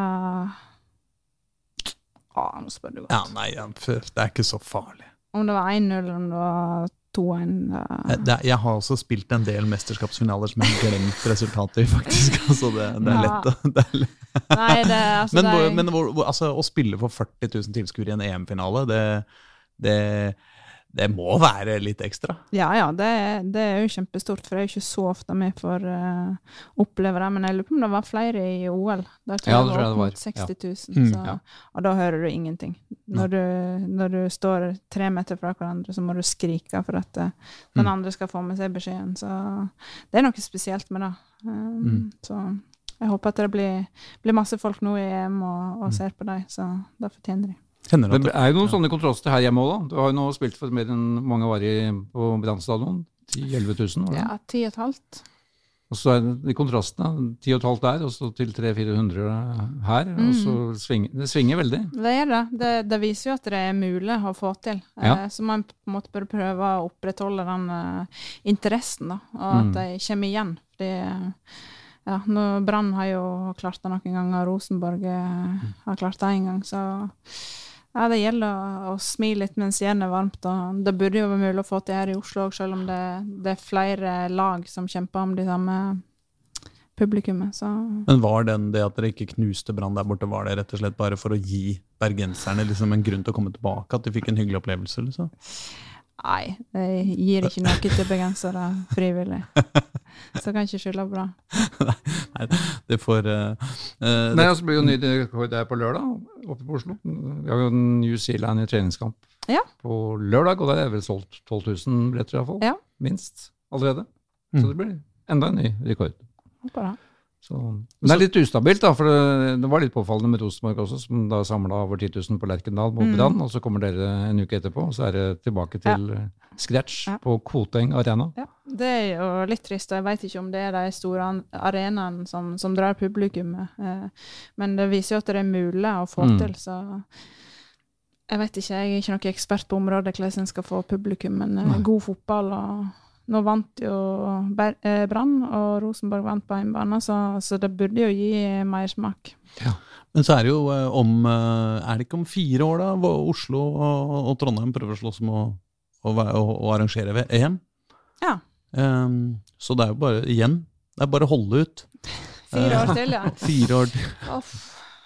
Speaker 2: ah, Nå spør du godt.
Speaker 3: Ja, nei, ja, f- det er ikke så farlig.
Speaker 2: Om det var 1-0 eller om det var 2-1.
Speaker 3: (laughs)
Speaker 2: da-
Speaker 3: Jeg, det, er- jeg har også spilt en del mesterskapsfinaler som jeg har glemt resultatet i, faktisk. (laughs) Altså, det, det er lett. å- Det er lett.
Speaker 2: Nei, det, altså,
Speaker 3: Men,
Speaker 2: det er-
Speaker 3: hvor- men hvor, hvor- altså, å spille for 40 000 tilskuere i en EM-finale, det, det, det må være litt ekstra.
Speaker 2: Ja, ja, det, er- det er jo kjempestort, for det er jo ikke så ofte vi får eh, oppleve det. Men jeg lurer på om det var flere i OL. Der tror
Speaker 4: Ja, Mm. det
Speaker 2: jeg det
Speaker 4: tror jeg det
Speaker 2: var opp
Speaker 4: var,
Speaker 2: mot 60 000.
Speaker 3: Mm,
Speaker 2: så,
Speaker 4: ja.
Speaker 2: Og da hører du ingenting. Når du, når du står tre meter fra hverandre, så må du skrike for at eh, den
Speaker 3: Mm.
Speaker 2: andre skal få med seg beskjeden. Så det er noe spesielt med det. Um,
Speaker 3: Mm.
Speaker 2: Så jeg håper at det blir, blir masse folk nå i EM og,
Speaker 3: Mm.
Speaker 2: og ser på dem, så det fortjener de.
Speaker 3: Hender
Speaker 4: Men
Speaker 3: det
Speaker 4: det
Speaker 3: at
Speaker 4: er jo noen sånne kontraster her hjemme òg, da. Du har jo nå spilt for mer enn mange var i på Brannstadion. 10 000-11 000. var det?
Speaker 2: Ja, ti og et halvt.
Speaker 4: Og så er det de kontrastene. 10,5 der, og så til 300-400 her. Og så
Speaker 2: Mm.
Speaker 4: svinger, det svinger veldig.
Speaker 2: Det er det. det. Det viser jo at det er mulig å få til.
Speaker 4: Ja.
Speaker 2: Eh, så man på en måte bør prøve å opprettholde den eh, interessen, da, og at de kommer igjen. Fordi, eh, ja, nå- Brann har jo klart det noen ganger, og Rosenborg eh, har klart det én gang, så ja, det gjelder å, å smi litt mens jernet er varmt. Og det burde jo være mulig å få til her i Oslo òg, selv om det, det er flere lag som kjemper om de samme publikummet. Så
Speaker 3: Men var den det at dere ikke knuste Brann der borte, var det rett og slett bare for å gi bergenserne liksom en grunn til å komme tilbake? At de fikk en hyggelig opplevelse? liksom?
Speaker 2: Nei, jeg gir ikke noe til bergensere frivillig. Så kan ikke skylde på det.
Speaker 3: Nei, det får eh, eh,
Speaker 4: Nei, og så blir jo ny rekord der på lørdag, oppe på Oslo. Vi har jo New Zealand i treningskamp
Speaker 2: Ja.
Speaker 4: på lørdag, og der er vel solgt 12 000 billetter iallfall.
Speaker 2: Ja.
Speaker 4: Minst allerede. Så det blir enda en ny rekord.
Speaker 2: Håper det.
Speaker 4: Så, men det er litt ustabilt, da, for det, det var litt påfallende med Rosenborg også, som da samla over 10 000 på Lerkendal mot
Speaker 2: Mm.
Speaker 4: Brann, og så kommer dere en uke etterpå, og så er det tilbake til eh, scratch
Speaker 2: Ja.
Speaker 4: på Koteng Arena.
Speaker 2: Ja, det er jo litt trist, og jeg vet ikke om det er de store an- arenaene som, som drar publikummet. Eh, men det viser jo at det er mulig å få
Speaker 4: Mm.
Speaker 2: til, så jeg vet ikke. Jeg er ikke noen ekspert på området hvordan en skal få publikum, men eh, god fotball og nå vant jo Ber- eh, Brann, og Rosenborg vant på hjemmebane, så, så det burde jo gi mersmak.
Speaker 3: Men så er det jo eh, om eh, Er det ikke om fire år, da? Hvor Oslo og, og Trondheim prøver å slåss om å, å, være- å, å arrangere ved EM.
Speaker 2: Ja.
Speaker 3: Ehm, så det er jo bare igjen. Det er bare å holde ut. Eh,
Speaker 2: Fire år til, ja.
Speaker 3: (laughs) Fire år til.
Speaker 2: Uff.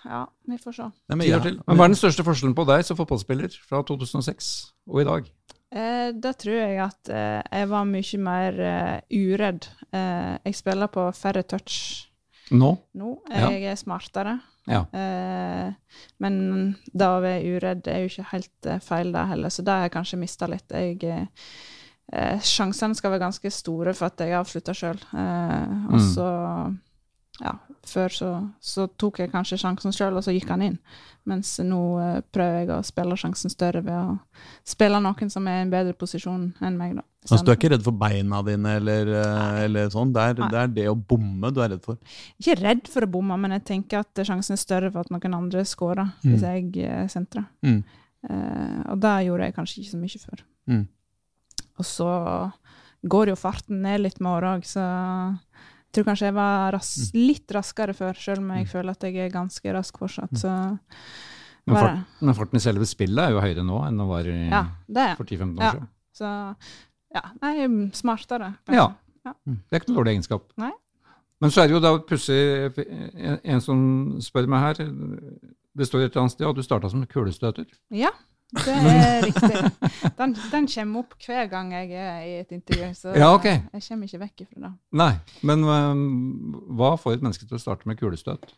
Speaker 2: Ja, vi får se.
Speaker 3: Nei,
Speaker 4: Ti år
Speaker 3: jeg-
Speaker 4: til. Men hva er den største forskjellen på deg som fotballspiller fra 2006 og i dag?
Speaker 2: Eh, da tror jeg at eh, jeg var mye mer eh, uredd. Eh, jeg spiller på færre touch
Speaker 4: Nå?
Speaker 2: nå.
Speaker 4: Ja.
Speaker 2: Jeg er smartere.
Speaker 4: Ja.
Speaker 2: Eh, men det å være uredd er jo ikke helt eh, feil, det heller, så det har jeg kanskje mista litt. Jeg, eh, eh, sjansene skal være ganske store for at jeg avslutter sjøl. Eh, og
Speaker 4: Mm.
Speaker 2: så ja, før så, så tok jeg kanskje sjansen sjøl, og så gikk han inn. Mens nå eh, prøver jeg å spille sjansen større ved å spille noen som er i en bedre posisjon enn meg, da.
Speaker 3: Altså, du er ikke redd for beina dine eller, eh, eller sånn? Det er,
Speaker 2: Nei.
Speaker 3: det er det å bomme du er redd for.
Speaker 2: ikke redd for å bomme, men jeg tenker at sjansen er større for at noen andre skårer hvis jeg eh, sentrer.
Speaker 3: Mm.
Speaker 2: Eh, og det gjorde jeg kanskje ikke så mye før.
Speaker 3: Mm.
Speaker 2: Og så går jo farten ned litt med åra òg, så jeg tror kanskje jeg var ras
Speaker 4: Mm.
Speaker 2: litt raskere før, selv om jeg føler at jeg er ganske rask fortsatt. Så
Speaker 4: Mm. Men,
Speaker 2: var
Speaker 4: fart,
Speaker 2: det.
Speaker 4: men farten i selve spillet er jo høyere nå enn den var i,
Speaker 2: Ja, det er jeg.
Speaker 4: for 10-15 år
Speaker 2: Ja.
Speaker 4: siden.
Speaker 2: Så ja, nei, smartere. kanskje.
Speaker 4: Ja.
Speaker 2: Ja.
Speaker 4: Det er ikke noe dårlig egenskap.
Speaker 2: Nei.
Speaker 4: Men så er det jo da pussig en, en som spør meg her Det står et eller annet sted at du starta som kulestøter.
Speaker 2: Ja, det
Speaker 4: (laughs)
Speaker 2: er riktig. Den, den kommer opp hver gang jeg er i et intervju, så
Speaker 4: Ja, ok.
Speaker 2: jeg kommer ikke vekk ifra det.
Speaker 4: Nei, men øhm, hva får et menneske til å starte med kulestøt?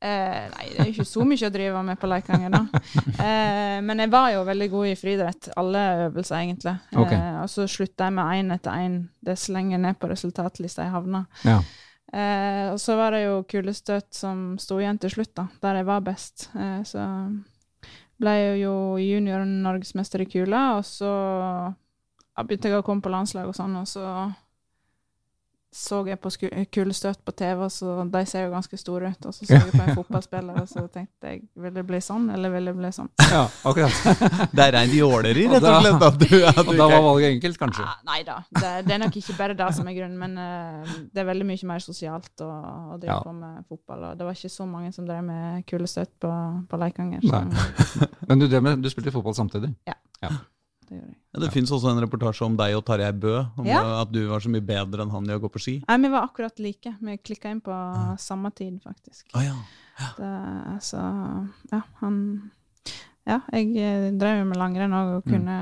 Speaker 2: Eh, nei, det er jo ikke så mye å drive med på Leikanger, da. Eh, men jeg var jo veldig god i friidrett, alle øvelser egentlig.
Speaker 4: Ok.
Speaker 2: Eh, og så slutta jeg med én etter én, dess lenger ned på resultatlista jeg havna.
Speaker 4: Ja.
Speaker 2: Eh, og så var det jo kulestøt som sto igjen til slutt, da, der jeg var best. Eh, så ble jeg jo junior norgesmester i kula, og så ja, begynte jeg å komme på landslag og sånn, og så så jeg på sku- kulestøt på TV, og så de ser jo ganske store ut, og så så jeg på en fotballspiller, og så tenkte jeg vil det bli sånn, eller vil det bli sånn?
Speaker 4: (laughs) ja, (laughs) akkurat.
Speaker 3: Det er rein jåleri, rett og
Speaker 4: Og da-
Speaker 3: slett. At du,
Speaker 4: (laughs)
Speaker 3: at
Speaker 4: Og
Speaker 3: du
Speaker 4: da var
Speaker 3: ikke,
Speaker 4: valget enkelt, kanskje.
Speaker 2: Ah, nei da, det, det er nok ikke bare det som er grunnen, men eh, det er veldig mye mer sosialt å, å drive
Speaker 4: Ja.
Speaker 2: på med fotball. Og det var ikke så mange som drev med kulestøt på, på Leikanger. Så
Speaker 4: Nei. Men du, drev med, du spilte fotball samtidig?
Speaker 2: det gjorde jeg.
Speaker 3: ja, det fins også en reportasje om deg og Tarjei Bø, om
Speaker 2: Ja.
Speaker 3: eh, at du var så mye bedre enn han i å gå på ski.
Speaker 2: Nei, vi var akkurat like. Vi klikka inn på samme tid, faktisk.
Speaker 3: Å ja.
Speaker 2: Det, så ja, han Ja, jeg eh, drev jo med langrenn òg
Speaker 4: Mm.
Speaker 2: og kunne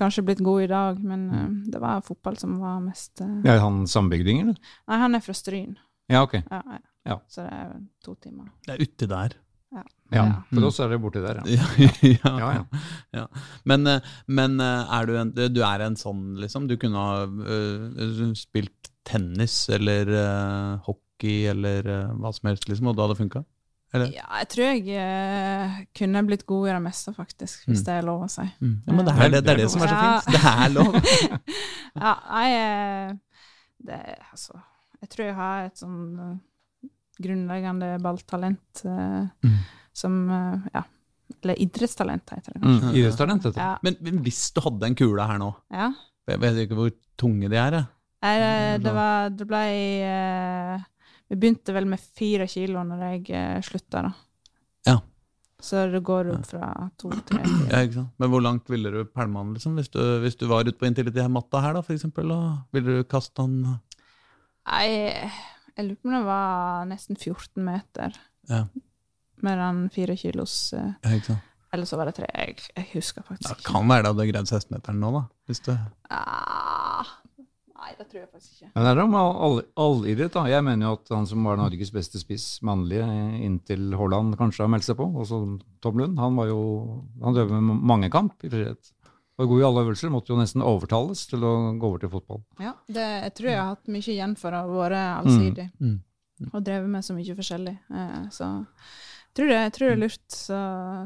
Speaker 2: kanskje blitt god i dag, men eh, det var fotball som var mest eh,
Speaker 4: Er han sambygding, eller?
Speaker 2: Nei, han er fra Stryn,
Speaker 4: Ja, ok.
Speaker 2: ja, ja.
Speaker 4: Ja.
Speaker 2: så det er jo to timer.
Speaker 3: Det er uti der.
Speaker 4: Ja.
Speaker 2: Ja.
Speaker 4: For oss er det borti der, ja.
Speaker 3: Ja, ja.
Speaker 4: Ja, ja.
Speaker 3: Men, eh, men eh, er du, en, du er en sånn, liksom? Du kunne ha eh, spilt tennis eller eh, hockey eller eh, hva som helst, liksom, og det hadde funka? Eller?
Speaker 2: Ja, jeg tror jeg eh, kunne blitt god i det meste, faktisk, hvis det er lov å si.
Speaker 3: Mm. Ja, men det er det, det, er det som er så
Speaker 2: Ja.
Speaker 3: fint. Det er lov.
Speaker 2: Ja, jeg eh, det, er- altså, Jeg tror jeg har et sånn eh, grunnleggende balltalent eh,
Speaker 3: Mm.
Speaker 2: som eh, Ja. Eller idrettstalent, heter det.
Speaker 4: Mm. Idrettstalent, dette.
Speaker 2: Ja.
Speaker 3: Men men hvis du hadde en kule her nå
Speaker 2: ja.
Speaker 3: Jeg vet ikke hvor tunge de Mm, er, jeg.
Speaker 2: Jeg, eh, det var Det ble eh, Vi begynte vel med fire kilo når jeg eh, slutta, da.
Speaker 3: Ja.
Speaker 2: Så det går opp fra to til fire.
Speaker 3: Ja, ikke sant? Men hvor langt ville du pælma den, liksom? Hvis du, hvis du var ute på Intility-matta her, da, for eksempel, og ville du kaste den
Speaker 2: Nei, jeg lurer på om det var nesten 14 meter
Speaker 3: Ja.
Speaker 2: med den fire kilos eh,
Speaker 3: ja, ikke sant?
Speaker 2: Eller så var det tre. Jeg, jeg husker faktisk
Speaker 3: Det
Speaker 2: ikke.
Speaker 3: kan være det hadde greid 16-meteren nå, da. Hvis du
Speaker 2: Ah, nei, det tror jeg faktisk ikke.
Speaker 4: Men det er om all- allidrett, da. Jeg mener jo at han som var Norges beste spiss, mannlige, inntil Haaland kanskje har meldt seg på, også Tom Lund, han var jo Han drev med mangekamp i friidrett. Var god i alle øvelser, måtte jo nesten overtales til å gå over til fotball.
Speaker 2: Ja, det, jeg tror jeg har hatt mye igjen for å ha vært allsidig
Speaker 3: Mm,
Speaker 2: og drevet med så mye forskjellig. Eh, så jeg tror det, jeg tror det er lurt, så,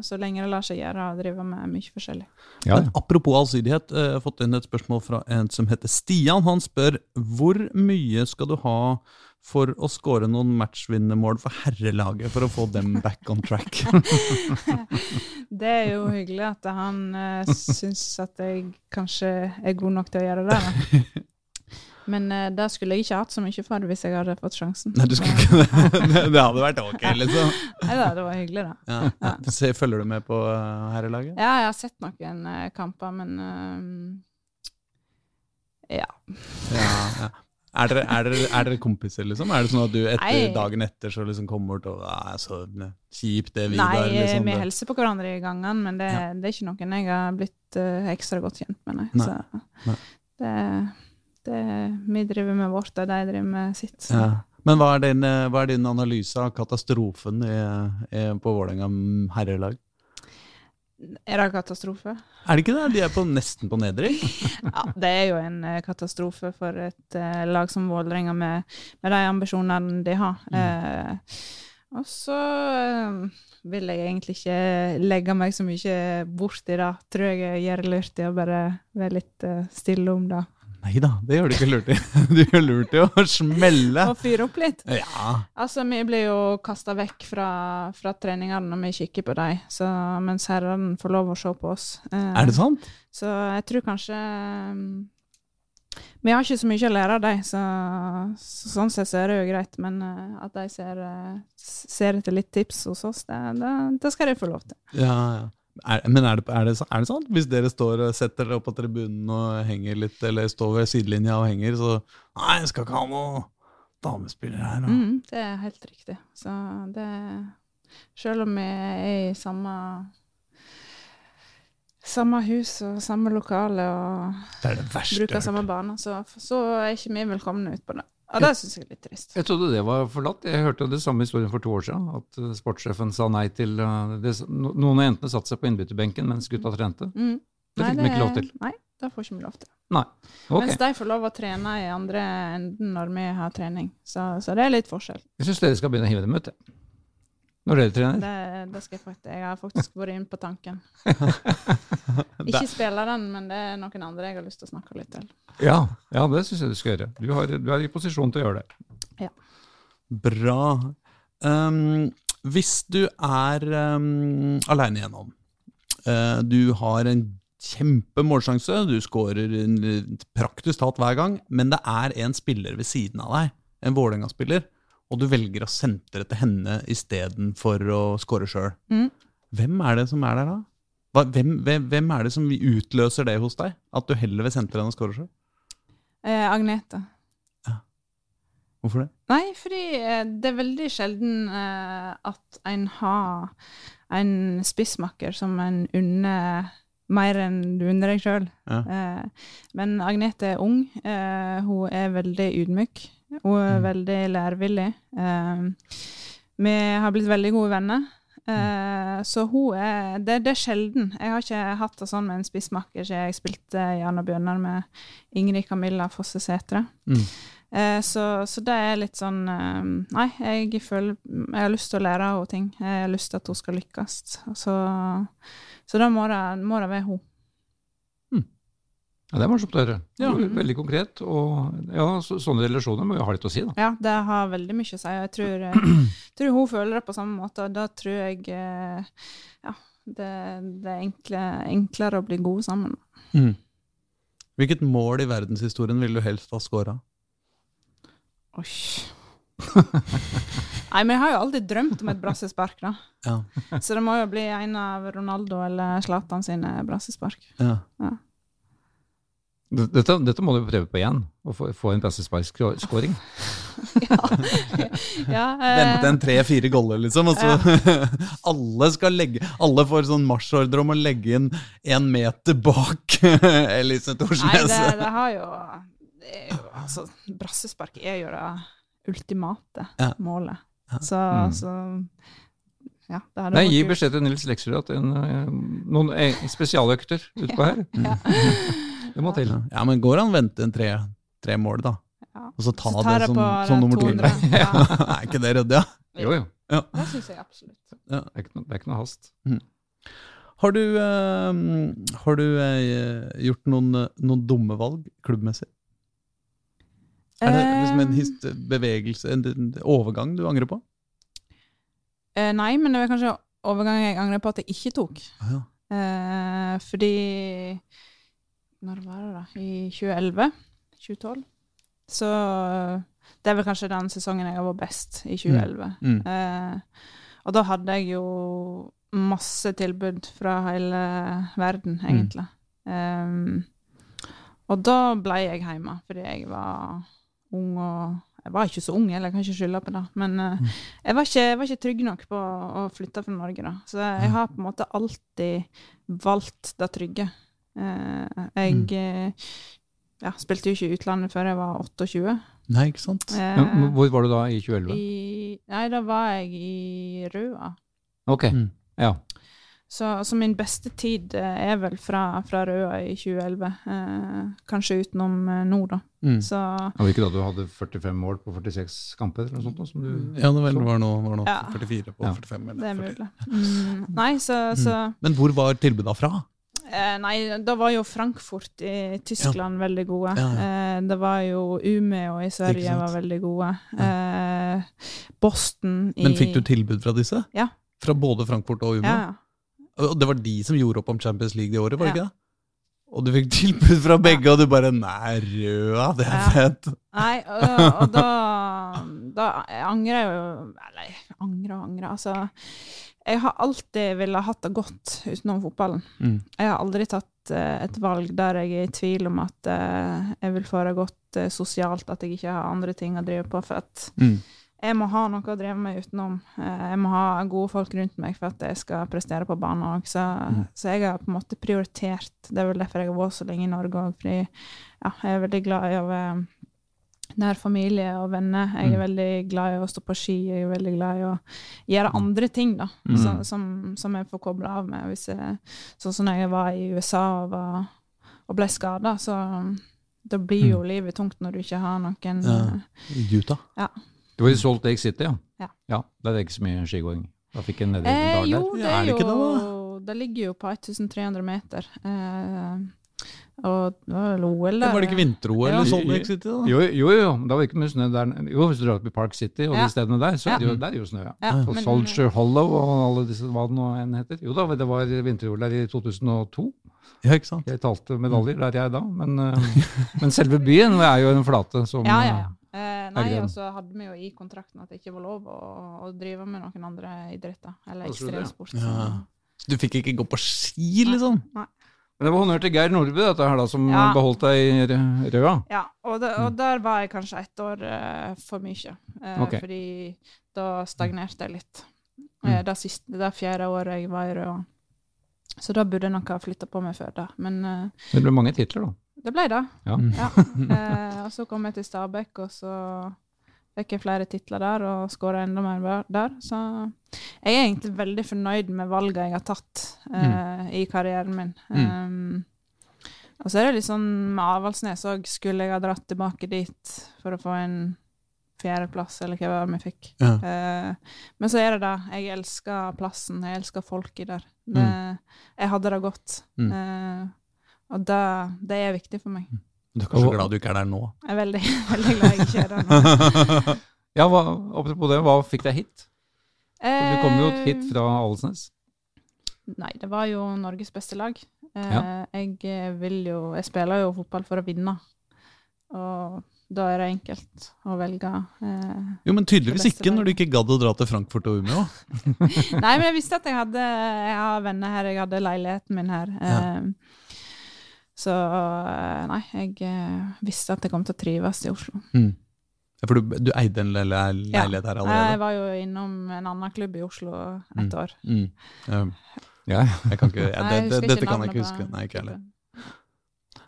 Speaker 2: så lenge det lar seg gjøre å drive med mye forskjellig.
Speaker 4: Ja,
Speaker 3: Men apropos allsidighet, eh, jeg har fått inn et spørsmål fra en som heter Stian. Han spør hvor mye skal du ha for å score noen matchvinnermål for herrelaget for å få dem back on track?
Speaker 2: Det er jo hyggelig at han uh, syns at jeg kanskje er god nok til å gjøre det. Da.
Speaker 3: (laughs)
Speaker 2: Men eh, det skulle jeg ikke hatt så mye for hvis jeg hadde fått sjansen.
Speaker 3: Nei, du skulle ikke det. (laughs) Det hadde vært ok, liksom.
Speaker 2: Nei da, det var hyggelig, da.
Speaker 3: Ja. Ja. Se, følger du med på eh, herrelaget?
Speaker 2: Ja, jeg har sett noen eh, kamper, men eh, Ja.
Speaker 3: Ja, ja. Er dere, er, dere, er dere kompiser, liksom? Er det sånn at du etter,
Speaker 2: Nei. dagen
Speaker 3: dagen etter så liksom kommer bort og er så kjipt liksom, det
Speaker 2: Nei, eh, vi hilser på hverandre i gangene, men det, det er ikke noen jeg har blitt eh, ekstra godt kjent med, nei.
Speaker 3: Nei.
Speaker 2: Så
Speaker 3: Nei.
Speaker 2: Det, det Vi driver med vårt, og de driver med sitt. så-
Speaker 3: Ja. Men hva er, din, eh, hva er din analyse av katastrofen i, i, på Vålerenga herrelag?
Speaker 2: Er det katastrofe?
Speaker 3: Er det ikke det? De er på, nesten på nedrykk.
Speaker 2: Ja, det er jo en eh, katastrofe for et eh, lag som Vålerenga med, med de ambisjonene de har.
Speaker 3: Mm.
Speaker 2: Eh, og så eh, vil jeg egentlig ikke legge meg så mye bort i det. Tror jeg jeg gjør lurt i å bare være litt eh, stille om det.
Speaker 3: Nei da, det gjør du ikke lurt i. (laughs) Du gjør lurt i å smelle.
Speaker 2: Og fyre opp litt.
Speaker 3: Ja.
Speaker 2: Altså, vi blir jo kasta vekk fra, fra treningene når vi kikker på dem, så- mens herrene får lov å se på oss. Eh,
Speaker 3: Er det sant?
Speaker 2: Så jeg tror kanskje um, Vi har ikke så mye å lære av dem, så, så sånn sett så er det jo greit. Men eh, at de ser, eh, s- ser etter litt tips hos oss, det, det, det skal de få lov til.
Speaker 3: Ja, ja. Er, men er det, er, det, er det sant? Hvis dere står og setter dere opp på tribunen og henger litt, eller står ved sidelinja og henger, så Nei, jeg skal ikke ha noe damespiller her. Da.
Speaker 2: Mm, det er helt riktig. Så det Selv om vi er i samme samme hus og samme lokale og
Speaker 3: Det er det verste. jeg
Speaker 2: bruker
Speaker 3: har hørt.
Speaker 2: samme bane, så, så er ikke vi velkomne ut på det. Og det syns jeg er litt trist.
Speaker 4: Jeg trodde det var forlatt. Jeg hørte det samme historien for to år siden. At eh, sportssjefen sa nei til eh, det, no- Noen av jentene satte seg på innbytterbenken mens gutta trente.
Speaker 2: Mm.
Speaker 4: Det fikk de ikke lov til.
Speaker 2: Nei, det får ikke vi lov til.
Speaker 4: Nei. Ok.
Speaker 2: Mens de får lov å trene i andre enden når vi har trening. Så, så det er litt forskjell.
Speaker 4: Jeg syns dere skal begynne å hive dem ut, jeg. Når dere trener.
Speaker 2: Det, det skal jeg, faktisk, jeg har faktisk vært inn på tanken. Ikke spilleren, men det er noen andre jeg har lyst til å snakke litt til.
Speaker 4: Ja, ja det syns jeg du skal gjøre. Du, har, du er i posisjon til å gjøre det.
Speaker 3: Bra. Um, hvis du er um, aleine igjennom, eh, du har en kjempe målsjanse, du skårer en- eh, praktisk talt hver gang, men det er en spiller ved siden av deg, en Vålerenga-spiller, og du velger å sentre til henne istedenfor å skåre sjøl.
Speaker 2: Mm.
Speaker 3: Hvem er det som er der da? Hva, hvem, hvem, hvem er det som utløser det hos deg? At du heller vil sentre enn å skåre sjøl?
Speaker 2: Eh, Agnete.
Speaker 3: Hvorfor det?
Speaker 2: Nei, fordi eh, det er veldig sjelden eh, at en har en spissmakker som en unner mer enn du unner deg sjøl.
Speaker 3: Ja.
Speaker 2: Eh, men Agnete er ung. Eh, hun er veldig ydmyk. Hun er veldig lærevillig. Eh, vi har blitt veldig gode venner. Eh, så hun er det, det er sjelden. Jeg har ikke hatt det sånn med en spissmakker siden jeg spilte Jan og Bjørnar med Ingrid Camilla Fosse Sætre. Eh, så, så det er litt sånn eh, Nei, jeg føler Jeg har lyst til å lære henne ting. Jeg har lyst til at hun skal lykkes. Så, så da må det, må det være hun.
Speaker 4: Ja, Det er morsomt å høre.
Speaker 2: Ja.
Speaker 4: Det var Veldig konkret. Og ja, så, sånne relasjoner må jo ha litt å si, da.
Speaker 2: Ja, det har veldig mye å si, og jeg tror, eh, tror hun føler det på samme måte. Og da tror jeg eh, Ja, det, det er enkle, enklere å bli gode sammen.
Speaker 3: Hvilket mål i verdenshistorien ville du helst ha scora?
Speaker 2: Oi. (laughs) Nei, men jeg har jo alltid drømt om et brassespark, da.
Speaker 3: Ja.
Speaker 2: Så det må jo bli en av Ronaldo eller Zlatan sine brassespark.
Speaker 3: (laughs) Ja.
Speaker 4: Dette, dette må du prøve på igjen. Å få, få en brassesparkskåring.
Speaker 2: Ja. ja eh,
Speaker 3: Vente en tre-fire goller, liksom. Og så (laughs) alle, skal legge, alle får sånn marsjordre om å legge inn én meter bak (laughs) Elise
Speaker 2: Nei,
Speaker 3: Thorsnes.
Speaker 2: det, det har jo, det er jo altså, Brassespark er jo det ultimate
Speaker 3: Ja.
Speaker 2: målet. Så,
Speaker 4: Mm.
Speaker 2: så ja, det hadde
Speaker 4: Nei,
Speaker 2: vært
Speaker 4: gi
Speaker 2: kult.
Speaker 4: beskjed til Nils Lekserud at en, eh, noen eh, spesialøkter utpå her. (laughs) Det må til.
Speaker 3: Ja, men går an å vente en tre, tre mål, da?
Speaker 2: Ja.
Speaker 3: Og så ta
Speaker 2: Så tar
Speaker 3: det
Speaker 2: jeg
Speaker 3: som,
Speaker 2: på
Speaker 3: som
Speaker 2: det
Speaker 3: nummer to.
Speaker 2: 200. Ja.
Speaker 3: (laughs) er ikke det ryddig? Ja?
Speaker 4: Jo, jo.
Speaker 2: Det syns jeg absolutt.
Speaker 4: Det er ikke noe, det er ikke noe hast.
Speaker 3: Har du, eh, har du eh, gjort noen, noen dumme valg klubbmessig? Er det liksom en
Speaker 2: Eh,
Speaker 3: hist bevegelse, en, en overgang du angrer på?
Speaker 2: eh, nei, men det var kanskje overgangen jeg angrer på at jeg ikke tok.
Speaker 3: Ja.
Speaker 2: Eh, fordi Når var det, da? I 2011? 2012? Så eh, det er vel kanskje den sesongen jeg har vært best, i 2011.
Speaker 3: Mm.
Speaker 2: Eh, og da hadde jeg jo masse tilbud fra hele verden,
Speaker 3: Mm.
Speaker 2: egentlig. Eh, og da ble jeg hjemme, fordi jeg var ung og Jeg var ikke så ung, eller jeg kan ikke skylde på det, men eh,
Speaker 3: Mm.
Speaker 2: jeg, var ikke, jeg var ikke trygg nok på å å flytte fra Norge, da. Så jeg har på en måte alltid valgt det trygge. Eh, jeg
Speaker 4: Mm.
Speaker 2: eh, ja, spilte jo ikke i utlandet før jeg var 28.
Speaker 3: Nei, ikke sant?
Speaker 2: Eh,
Speaker 4: Men, hvor var du da i 2011?
Speaker 2: i, nei, da var jeg i Røa.
Speaker 4: Ok,
Speaker 3: Mm.
Speaker 4: ja.
Speaker 2: Så altså, min beste tid eh, er vel fra, fra Røa i 2011. Eh, kanskje utenom eh, nå, da.
Speaker 3: Mm.
Speaker 2: Så
Speaker 4: Og ikke da du hadde 45 mål på 46 kamper eller noe sånt? da, Som
Speaker 2: Mm.
Speaker 4: du,
Speaker 3: Ja, det vel var nå, var nå
Speaker 2: Ja.
Speaker 3: 44 på
Speaker 4: Ja.
Speaker 3: 45. Eller
Speaker 2: det er
Speaker 3: 40.
Speaker 2: mulig. Mm, nei, så, så
Speaker 3: Men hvor var tilbudet fra?
Speaker 2: Eh, nei, da var jo Frankfurt i Tyskland veldig gode.
Speaker 3: Ja,
Speaker 2: Eh, det var jo Umeå i
Speaker 3: Ikke
Speaker 2: Sverige
Speaker 3: sant?
Speaker 2: var veldig gode. Eh, Boston i
Speaker 3: Men fikk du tilbud fra disse?
Speaker 2: Ja.
Speaker 3: Fra både Frankfurt og Umeå?
Speaker 2: Ja, ja.
Speaker 3: Og det var de som gjorde opp om Champions League det året, var det
Speaker 2: Ja.
Speaker 3: ikke det? Og du fikk (laughs) tilbud fra begge, og du bare Nei, røda, det er
Speaker 2: Ja.
Speaker 3: fett!
Speaker 2: Nei, og, og da, da angrer jeg jo Eller jeg angrer og angrer. Altså, jeg har alltid villet hatt det godt utenom fotballen.
Speaker 3: Mm.
Speaker 2: Jeg har aldri tatt eh, et valg der jeg er i tvil om at eh, jeg vil få det godt eh, sosialt, at jeg ikke har andre ting å drive på. For at
Speaker 3: Mm.
Speaker 2: jeg må ha noe å drive meg utenom. Eh, Jeg må ha gode folk rundt meg for at jeg skal prestere på banen òg. Så, så jeg har på en måte prioritert. Det er vel derfor jeg har vært så lenge i Norge òg, fordi ja, jeg er veldig glad i å være nær familie og venner. Jeg er veldig glad i å stå på ski. Jeg er veldig glad i å gjøre andre ting, da, som, som, som jeg får kobla av med. Hvis jeg, sånn som når jeg var i USA og, var, og ble skada, så da blir jo livet tungt når du ikke har noen
Speaker 3: Ja. Utah.
Speaker 4: det var i Salt Lake City, ja.
Speaker 2: Ja.
Speaker 4: Der er det ikke så mye skigåing. Da fikk jeg nedi en
Speaker 2: Eh,
Speaker 4: dag
Speaker 2: jo,
Speaker 4: der.
Speaker 2: det
Speaker 3: Ja, er
Speaker 2: er
Speaker 3: det
Speaker 2: jo
Speaker 3: ikke
Speaker 2: det,
Speaker 3: det,
Speaker 2: ligger jo på 1300 meter. Eh, og det var vel OL der.
Speaker 3: Var det ikke vinter-OL eller
Speaker 2: Ja.
Speaker 3: sånn det gikk sitt i, da?
Speaker 4: Jo, jo, jo. Da var det ikke mye snø der. Jo, hvis du drar opp i Park City og
Speaker 2: Ja.
Speaker 4: de stedene der, så
Speaker 2: Ja.
Speaker 4: er det jo, der er jo snø, ja.
Speaker 2: Ja,
Speaker 4: Og
Speaker 2: men- eh,
Speaker 4: Soldier Hollow og alle disse hva det nå enn heter. Jo da, det var vinter-OL der i 2002.
Speaker 3: Ja, ikke sant?
Speaker 4: Jeg talte medaljer der jeg da, men, eh, men selve byen er jo en flate som
Speaker 2: Ja, ja, ja.
Speaker 4: eh,
Speaker 2: Eh, nei,
Speaker 4: greit.
Speaker 2: og så hadde vi jo i kontrakten at det ikke var lov å, å drive med noen andre idretter. Eller
Speaker 4: Hva tror du det?
Speaker 2: ekstremsport.
Speaker 3: Ja. Så Du fikk ikke gå på ski, liksom?
Speaker 4: Men det var honnør til Geir Nordby, dette her da, som
Speaker 2: Ja.
Speaker 4: beholdt deg i rø- røda.
Speaker 2: Ja, og, det,
Speaker 3: Mm.
Speaker 2: og der var jeg kanskje ett år eh, for mye. Eh,
Speaker 4: Ok.
Speaker 2: Fordi da stagnerte jeg litt.
Speaker 3: Mm.
Speaker 2: Eh, det, siste, det fjerde året jeg var i Røa. Så da burde jeg nok ha flytta på meg før det. Men eh,
Speaker 4: Det ble mange titler, da.
Speaker 2: Det ble det.
Speaker 4: Ja.
Speaker 2: Eh, og så kom jeg til Stabæk, og så fikk jeg flere titler der og skåra enda mer ba- der. Så jeg er egentlig veldig fornøyd med valgene jeg har tatt
Speaker 3: Mm.
Speaker 2: eh, i karrieren min. Um, og så er det litt sånn med Avaldsnes òg. Skulle jeg ha dratt tilbake dit for å få en fjerdeplass, eller hva det var vi fikk?
Speaker 3: Ja.
Speaker 2: Eh, men så er det det. Jeg elsker plassen, jeg elsker folket der. Det, Jeg hadde det godt.
Speaker 3: Mm.
Speaker 2: Eh, og det, det er viktig for meg.
Speaker 3: Du er kanskje
Speaker 4: Og-
Speaker 3: glad du ikke er der nå?
Speaker 2: Jeg er veldig, (laughs) veldig glad jeg ikke er der nå.
Speaker 4: Ja, hva, apropos det, hva fikk deg hit? For Du kom jo
Speaker 2: Eh,
Speaker 4: hit fra Alesnes.
Speaker 2: Nei, det var jo Norges beste lag. Eh,
Speaker 4: Ja.
Speaker 2: Jeg eh, vil jo Jeg spiller jo fotball for å vinne, og da er det enkelt å velge. Eh,
Speaker 3: Jo, men tydeligvis
Speaker 2: Det beste
Speaker 3: ikke når du
Speaker 2: laget.
Speaker 3: ikke gadd å dra til Frankfurt og Umeå.
Speaker 2: Nei, men jeg visste at jeg hadde Jeg har venner her, jeg hadde leiligheten min her.
Speaker 3: Ja.
Speaker 2: Eh, Så eh, nei, jeg eh, visste at jeg kom til å trives i Oslo.
Speaker 4: Hmm.
Speaker 3: Ja, For du, du eide en leil- leilighet her
Speaker 2: Eh, Jeg
Speaker 3: allerede?
Speaker 2: var jo innom en annen klubb i Oslo et
Speaker 3: Mm.
Speaker 2: år.
Speaker 3: Mm. Ja,
Speaker 4: Ja,
Speaker 3: Jeg kan ikke, jeg,
Speaker 2: Nei,
Speaker 3: det,
Speaker 2: jeg
Speaker 3: det,
Speaker 2: husker
Speaker 3: dette kan jeg
Speaker 2: navnet
Speaker 3: ikke
Speaker 2: på
Speaker 3: huske. Nei, ikke heller.
Speaker 2: klubben.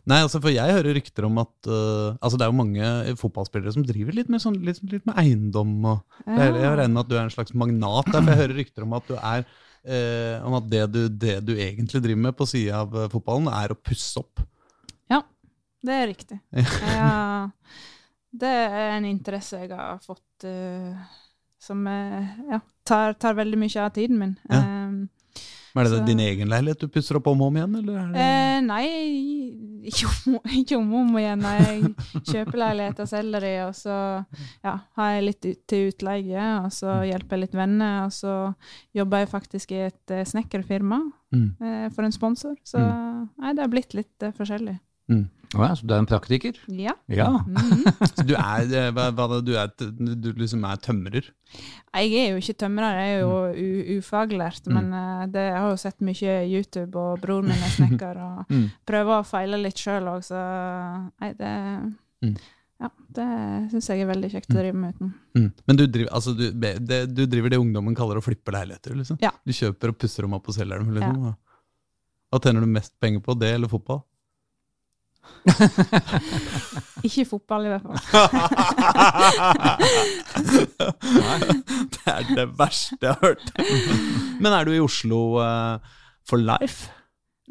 Speaker 3: Nei, altså for jeg hører rykter om at øh, Altså det er jo mange fotballspillere som driver litt med, sånn, litt, litt med eiendom og Jeg, jeg regner med at du er en slags magnat der, for jeg hører rykter om at du er eh, om at det du, det du egentlig driver med på sida av eh, fotballen, er å pusse opp.
Speaker 2: Det er riktig. Ja, det er en interesse jeg har fått eh, som eh, ja, tar, tar veldig mye av tiden min.
Speaker 3: Ja.
Speaker 2: Um,
Speaker 3: Men Er det
Speaker 2: Så-
Speaker 3: din egen leilighet du pusser opp om og om igjen, eller? Er det...
Speaker 2: eh, nei, (laughs) ikke om- ikke om og om igjen. Nei, Jeg kjøper leiligheter, selger de, og så ja, har jeg litt ut, til utleie, og så hjelper jeg litt venner, og så jobber jeg faktisk i et eh, snekkerfirma
Speaker 3: Mm.
Speaker 2: eh, for en sponsor. Så nei, det har blitt litt eh, forskjellig.
Speaker 4: ja så du er en praktiker?
Speaker 2: Ja.
Speaker 4: Ja.
Speaker 2: Mhm.
Speaker 3: Så du er, eh, hva, hva, da, du, er t- du liksom er tømrer?
Speaker 2: Jeg er jo ikke tømrer, jeg er jo
Speaker 3: Mm.
Speaker 2: u ufaglært, men eh, det, jeg har jo sett mye YouTube, og broren min er snekker, og
Speaker 3: (laughs) Mm.
Speaker 2: prøver å feile litt sjøl òg, så nei, det
Speaker 3: Mm.
Speaker 2: Ja, det syns jeg er veldig kjekt å drive med uten.
Speaker 3: Mm. Men du driver, altså, du, be- det, du driver det ungdommen kaller å flippe leiligheter? liksom?
Speaker 2: Ja.
Speaker 3: Du kjøper og pusser dem opp og selger dem? Liksom. Ja. Hva tjener du mest penger på, det eller fotball? (laughs)
Speaker 2: Ikke i fotball, i hvert fall.
Speaker 3: det er det verste jeg har hørt. Men er du i Oslo eh, for life?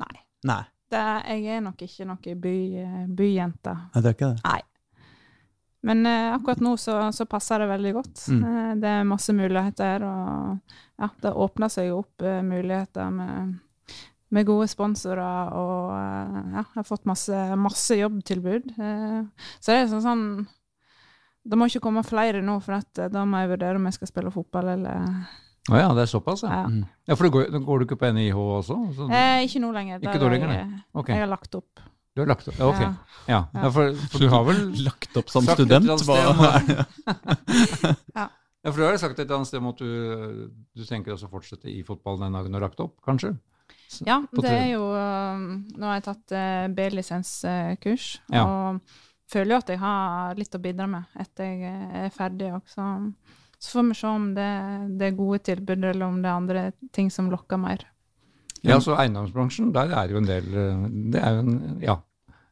Speaker 2: Nei.
Speaker 3: Nei,
Speaker 2: Det, jeg er nok ikke noe by, eh, byjente.
Speaker 3: Nei, det er ikke det.
Speaker 2: Men eh, akkurat nå så, så passer det veldig godt.
Speaker 4: Mm.
Speaker 2: Eh, det er masse muligheter, og ja, det åpner seg jo opp eh, muligheter med, med gode sponsorer, og eh, ja, jeg har fått masse, masse jobbtilbud. Eh, så det er sånn sånn Det må ikke komme flere nå, for at, eh, da må jeg vurdere om jeg skal spille fotball eller
Speaker 4: Å ja, det er såpass, ja.
Speaker 2: ja.
Speaker 4: ja for det går, går du ikke på NIH også? Så,
Speaker 2: eh, Ikke nå lenger.
Speaker 4: Ikke
Speaker 2: Der
Speaker 4: nå
Speaker 2: har
Speaker 4: lenger,
Speaker 2: jeg,
Speaker 4: ok,
Speaker 2: jeg har lagt opp.
Speaker 4: du har lagt opp. Ja, ok.
Speaker 2: Ja.
Speaker 4: Ja, ja for, for du har vel
Speaker 3: Lagt opp som
Speaker 4: Sagt et
Speaker 3: student?
Speaker 4: eller annet sted
Speaker 3: Hva er det?
Speaker 4: (laughs) Ja, for du har jo sagt et eller annet sted om at du, du tenker også å fortsette i fotballen den dagen du har lagt opp, kanskje?
Speaker 2: Ja,
Speaker 4: på
Speaker 2: det
Speaker 4: tre-
Speaker 2: er jo um, Nå har jeg tatt eh, B-lisenskurs,
Speaker 4: Ja.
Speaker 2: og føler jo at jeg har litt å bidra med etter jeg eh, er ferdig òg, så, så får vi se om det, det er gode tilbud, eller om det er andre ting som lokker mer.
Speaker 4: Ja, så eiendomsbransjen, der er jo en del eh, Det er jo en Ja.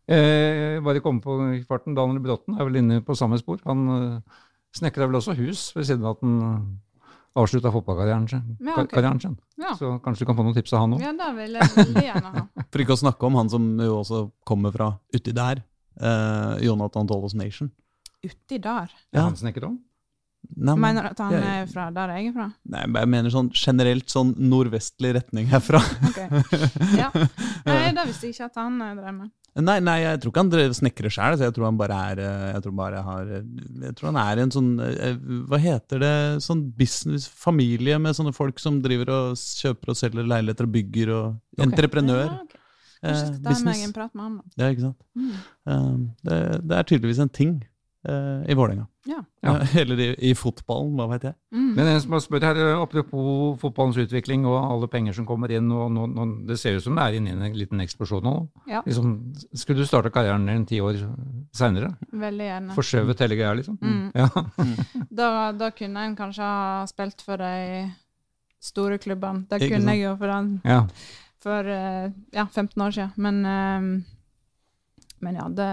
Speaker 4: Eh, bare komme på i farten, Daniel Bråten er vel inne på samme spor. Han eh, snekra vel også hus ved siden av at han avslutta fotballkarrieren sin.
Speaker 2: Ja,
Speaker 4: kar-
Speaker 2: ok.
Speaker 4: karrieren sin.
Speaker 2: Ja.
Speaker 4: Så kanskje du kan få noen tips av han òg.
Speaker 2: Ja, det (laughs) vil jeg veldig gjerne ha.
Speaker 3: For ikke å snakke om han som jo også kommer fra uti der. eh, Jonathan Tollos Nation.
Speaker 2: Uti der.
Speaker 3: Ja.
Speaker 4: Han snekker om.
Speaker 3: Nei, men,
Speaker 2: Mener du at han
Speaker 3: jeg-
Speaker 2: er fra der jeg er fra?
Speaker 3: nei, men jeg mener sånn generelt sånn nordvestlig retning herfra. (laughs)
Speaker 2: Ok. Ja. Nei, det visste jeg ikke at han eh, drev med.
Speaker 3: Nei, nei, jeg tror ikke han drev snekrer sjæl. Jeg tror han bare er eh, Jeg tror, bare har, eh, jeg tror han er en sånn eh, Hva heter det Sånn businessfamilie med sånne folk som driver og s- kjøper og selger leiligheter og bygger og Entreprenør.
Speaker 2: Ja, ok. Kanskje jeg
Speaker 3: eh,
Speaker 2: skal ta meg
Speaker 3: business.
Speaker 2: en prat med han, da.
Speaker 3: Ja, ikke sant.
Speaker 2: Mm.
Speaker 3: Um, det, det er tydeligvis en ting eh, i Vålerenga.
Speaker 2: Ja.
Speaker 4: Ja.
Speaker 3: (laughs) Eller i, i fotballen, hva veit jeg.
Speaker 2: Mm.
Speaker 4: Men en som har spurt her, eh, apropos fotballens utvikling og alle penger som kommer inn, og nå, nå, det ser ut som det er inne i en liten eksplosjon nå.
Speaker 2: Ja.
Speaker 4: Liksom, skulle du starta karrieren din ti år seinere?
Speaker 2: Veldig gjerne.
Speaker 4: Forskjøvet hele greia, liksom?
Speaker 2: Mm.
Speaker 4: Ja.
Speaker 2: Da, da kunne en kanskje ha spilt for de store klubbene. Det
Speaker 3: Ikke
Speaker 2: kunne
Speaker 3: sant?
Speaker 2: jeg jo for, den,
Speaker 4: ja.
Speaker 2: for eh, ja, 15 år siden. Men, eh, men ja, det,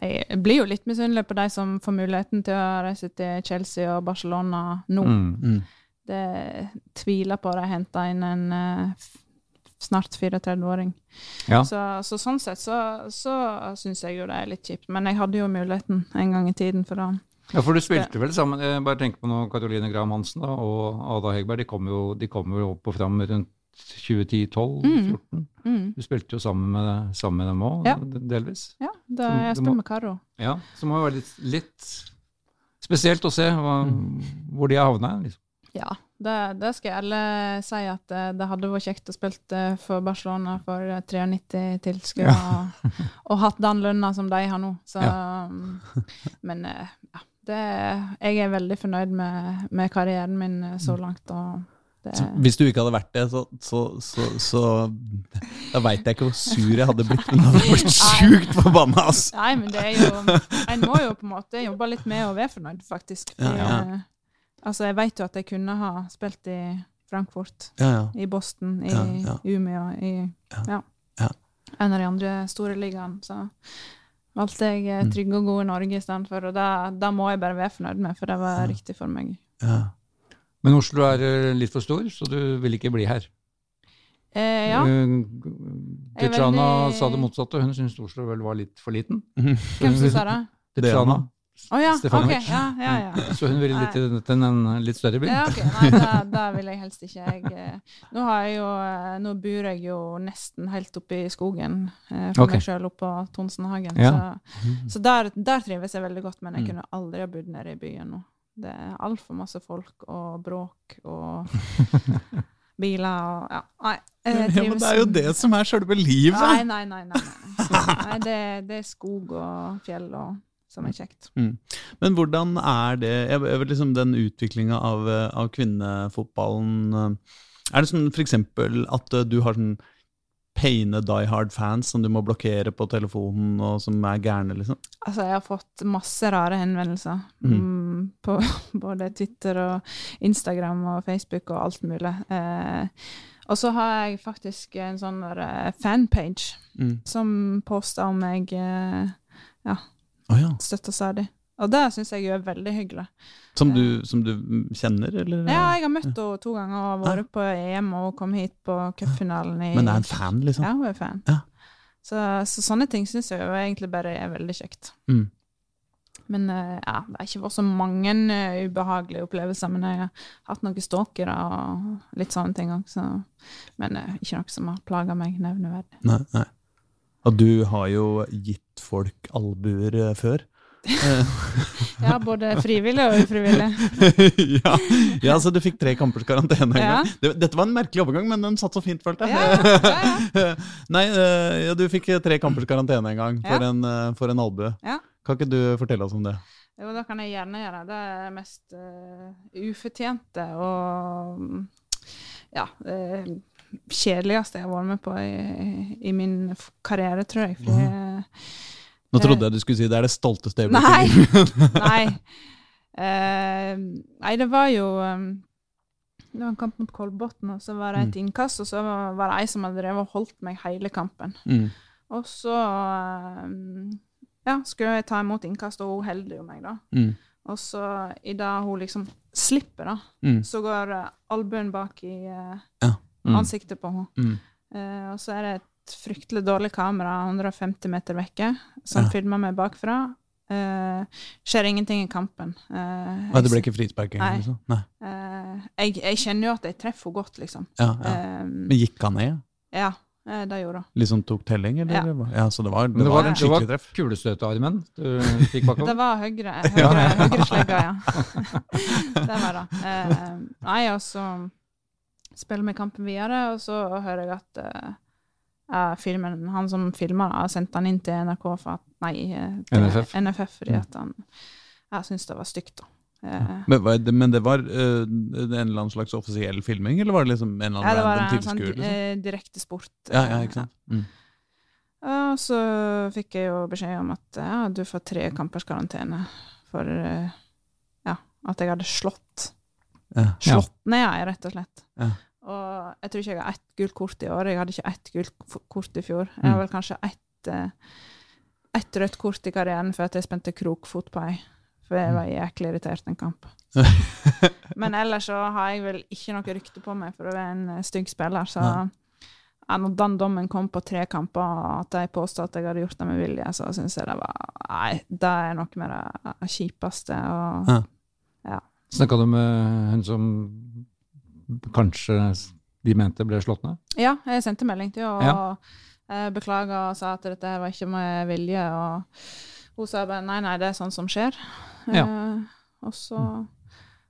Speaker 2: jeg blir jo litt misunnelig på de som får muligheten til å reise til Chelsea og Barcelona nå.
Speaker 4: Mm.
Speaker 2: Det tviler på at de henter inn en eh, f- snart 34-åring.
Speaker 4: Ja.
Speaker 2: Så, så sånn sett så, så syns jeg jo det er litt kjipt. Men jeg hadde jo muligheten en gang i tiden for å
Speaker 4: Ja, for du spilte vel sammen jeg Bare tenk på nå Karoline Graham Hansen da, og Ada Hegberg. De kom jo, de kom jo opp og fram rundt 2010-2012-2014.
Speaker 2: mm,
Speaker 4: Du spilte jo sammen med, sammen med dem òg,
Speaker 2: Ja.
Speaker 4: delvis.
Speaker 2: Ja, da
Speaker 4: Så
Speaker 2: jeg
Speaker 4: du må-
Speaker 2: spør med Karo.
Speaker 4: Ja, Så må det være litt, litt spesielt å se hva,
Speaker 2: Mm.
Speaker 4: hvor de har havna. Liksom.
Speaker 2: Ja, det, det skal jeg alle si at eh, det hadde vært kjekt å spille for Barcelona for eh, 93 tilskuere og, og hatt den lønna som de har nå. Så, um, men eh, ja, det, jeg er veldig fornøyd med, med karrieren min eh, så langt. Og det,
Speaker 3: Mm. Så Hvis du ikke hadde vært det, så, så, så, så Da veit jeg ikke hvor sur jeg hadde blitt. Men jeg hadde blitt sjukt forbanna, ass!
Speaker 2: nei, men det er jo En må jo på en måte jobbe litt med å være fornøyd, faktisk.
Speaker 3: Ja,
Speaker 2: Fordi,
Speaker 3: ja.
Speaker 2: eh, Altså, jeg vet jo at jeg kunne ha spilt i Frankfurt.
Speaker 3: Ja, ja.
Speaker 2: i Boston, i
Speaker 3: Ja, ja.
Speaker 2: Umeå, i
Speaker 3: Ja.
Speaker 2: ja.
Speaker 3: Ja.
Speaker 2: en av de andre store ligaene. Så valgte jeg eh, trygge og gode Norge istedenfor, og da, da må jeg bare være fornøyd med, for det var riktig for meg.
Speaker 3: ja.
Speaker 4: Men Oslo er eh, litt for stor, så du vil ikke bli her.
Speaker 2: Eh, ja,
Speaker 4: Eh,
Speaker 2: Jeg er
Speaker 4: Tiziana
Speaker 2: veldig-
Speaker 4: sa det motsatte. Hun syntes Oslo vel var litt for liten.
Speaker 2: hvem som sa det?
Speaker 4: Tiziana.
Speaker 2: Å ja, ok.
Speaker 4: Stefanovic.
Speaker 2: Ja, ja, ja.
Speaker 4: Så hun ville litt til- til en litt større by.
Speaker 2: Ja, ok. Nei, da, da vil jeg helst ikke. Jeg, eh, nå, har jeg jo, eh, nå bor jeg jo nesten helt oppe i skogen eh, for
Speaker 4: Ok.
Speaker 2: meg sjøl, oppe på Tonsenhagen.
Speaker 4: Ja.
Speaker 2: Så, så der, der trives jeg veldig godt,
Speaker 3: Mm.
Speaker 2: men jeg kunne aldri ha bodd nede i byen nå. Det er altfor masse folk og bråk
Speaker 3: (laughs)
Speaker 2: og biler og Ja, nei. Jeg
Speaker 3: Ja, men
Speaker 2: trives-
Speaker 3: det er jo det som er sjølve livet!
Speaker 2: Nei, nei, nei. nei, nei. nei det, det er skog og fjell og, som er kjekt.
Speaker 3: Men hvordan er det jeg, jeg, vet liksom Den utviklinga av, eh, av kvinnefotballen eh, Er det sånn for eksempel at eh, du har sånn paine die hard-fans som du må blokkere på telefonen, og som er gærne, liksom?
Speaker 2: Altså, jeg har fått masse rare henvendelser
Speaker 3: Mhm.
Speaker 2: mm, på (laughs) både Twitter og Instagram og Facebook og alt mulig. Eh, og så har jeg faktisk en sånn der, eh, fanpage
Speaker 3: Mm.
Speaker 2: som poster om jeg eh,
Speaker 3: Å ja.
Speaker 2: støtter stadig. Og det syns jeg er veldig hyggelig.
Speaker 3: Som du, som du kjenner, eller?
Speaker 2: Ja, jeg har møtt henne to ganger og vært på EM, og hun kom hit på cupfinalen i
Speaker 3: Men er en fan, liksom?
Speaker 2: Ja, hun er fan.
Speaker 3: Ja.
Speaker 2: Så, så sånne ting syns jeg jo egentlig bare er veldig kjekt.
Speaker 3: Mm.
Speaker 2: Men eh, ja, det har ikke vært så mange eh, ubehagelige opplevelser. Men jeg har hatt noen stalkere og litt sånne ting òg, så Men eh, ikke noe som har plaga meg
Speaker 3: (laughs)
Speaker 2: nevneverdig.
Speaker 3: Nei, nei. Og du har jo gitt folk albuer eh,
Speaker 2: (laughs)
Speaker 3: før.
Speaker 2: Ja, både frivillig og ufrivillig.
Speaker 3: (laughs) ja. ja, så du fikk tre kampers karantene en
Speaker 2: Ja.
Speaker 3: gang. Det, dette var en merkelig overgang, men den satt så fint, følte
Speaker 2: Ja,
Speaker 3: jeg.
Speaker 2: ja, ja,
Speaker 3: (laughs) Nei, eh, ja, du fikk tre kampers karantene en gang for
Speaker 2: Ja.
Speaker 3: en, eh, for en albue.
Speaker 2: Ja.
Speaker 3: Kan ikke du fortelle oss om det?
Speaker 2: Jo, det kan jeg gjerne gjøre. Det er mest eh, ufortjente og mm, ja, eh, kjedeligste jeg har vært med på i, i min f- karriere, tror jeg. Fordi,
Speaker 3: Nå trodde jeg du skulle si det er det stolteste øyeblikket. i
Speaker 2: Eh. Nei.
Speaker 3: livet. (laughs)
Speaker 2: nei. Eh, nei, det var jo um, Det var en kamp mot Kolbotn, og så var det et innkast, og så var var det ei som hadde drevet og holdt meg hele kampen.
Speaker 3: Mm.
Speaker 2: Og så um, ja, skulle jeg ta imot innkast, og hun holder jo meg, da.
Speaker 3: Mm.
Speaker 2: Og så idet hun liksom slipper, da,
Speaker 3: Mm.
Speaker 2: så går eh, albuen bak i eh,
Speaker 3: Ja.
Speaker 4: Mm.
Speaker 2: ansiktet på henne.
Speaker 3: Mm.
Speaker 2: Eh, og så er det et fryktelig dårlig kamera 150 meter vekke som
Speaker 3: Ja.
Speaker 2: filmer meg bakfra. Eh, skjer ingenting i kampen. Eh,
Speaker 3: Nei, det ble ikke frisparking?
Speaker 2: Nei.
Speaker 3: Liksom. Nei.
Speaker 2: eh, jeg, jeg kjenner jo at jeg treffer henne godt, liksom.
Speaker 3: Ja, ja.
Speaker 2: Eh,
Speaker 3: Men gikk han ned?
Speaker 2: ja, eh, det gjorde hun.
Speaker 3: Liksom tok telling, eller?
Speaker 2: Ja.
Speaker 3: Ja, så det var, det
Speaker 4: Men det
Speaker 3: var
Speaker 4: var-
Speaker 3: en
Speaker 4: det var-
Speaker 3: skikkelig treff.
Speaker 4: Kulestøtearmen du fikk
Speaker 2: (laughs)
Speaker 4: bakover.
Speaker 2: Det var høyre, eh, høyre, høyre slegga, ja. (laughs) det var det. Eh, nei, og så spiller vi kampen videre, og så hører jeg at eh, eh, filmen, han som filma, har sendt den inn til NRK for at Nei, eh, til
Speaker 4: NFF.
Speaker 2: NFF fordi at han Jeg syns det var stygt, da. Eh,
Speaker 3: Men, var det- men det var eh, en eller annen slags offisiell filming, eller var det liksom en eller
Speaker 2: ja,
Speaker 3: annen
Speaker 2: det var
Speaker 3: random
Speaker 2: en sånn
Speaker 3: tilskuer? Liksom?
Speaker 2: eh, direkte sport.
Speaker 3: Ja, ja,
Speaker 2: eh,
Speaker 3: ikke sant? Mm.
Speaker 2: Ja, og så fikk jeg jo beskjed om at ja, du får tre kampers karantene for eh, ja, at jeg hadde slått.
Speaker 3: Ja.
Speaker 2: Slått ned jeg, rett og slett.
Speaker 3: Ja.
Speaker 2: Og jeg tror ikke jeg har ett gult kort i år. Jeg hadde ikke ett gult f- kort i fjor. Jeg
Speaker 3: Mm.
Speaker 2: har vel kanskje ett, eh, ett rødt kort i karrieren for at jeg spente krokfot på ei. For
Speaker 3: Mm.
Speaker 2: jeg var jæklig irritert en
Speaker 3: (laughs)
Speaker 2: kamp. Men ellers så har jeg vel ikke noe rykte på meg for å være en eh, stygg spiller, så
Speaker 3: Nei.
Speaker 2: ja, når den dommen kom på tre kamper, og at de påstod at jeg hadde gjort det med vilje, så syns jeg det var Nei, det er noe med det kjipeste. Og,
Speaker 3: Ja.
Speaker 4: Snakka du med hun som kanskje de mente ble slått ned?
Speaker 2: ja, jeg sendte melding til henne
Speaker 4: Ja.
Speaker 2: og eh, beklaga og sa at dette her var ikke med vilje. Og hun sa bare nei, nei, det er sånn som skjer.
Speaker 4: Ja.
Speaker 2: Eh, og så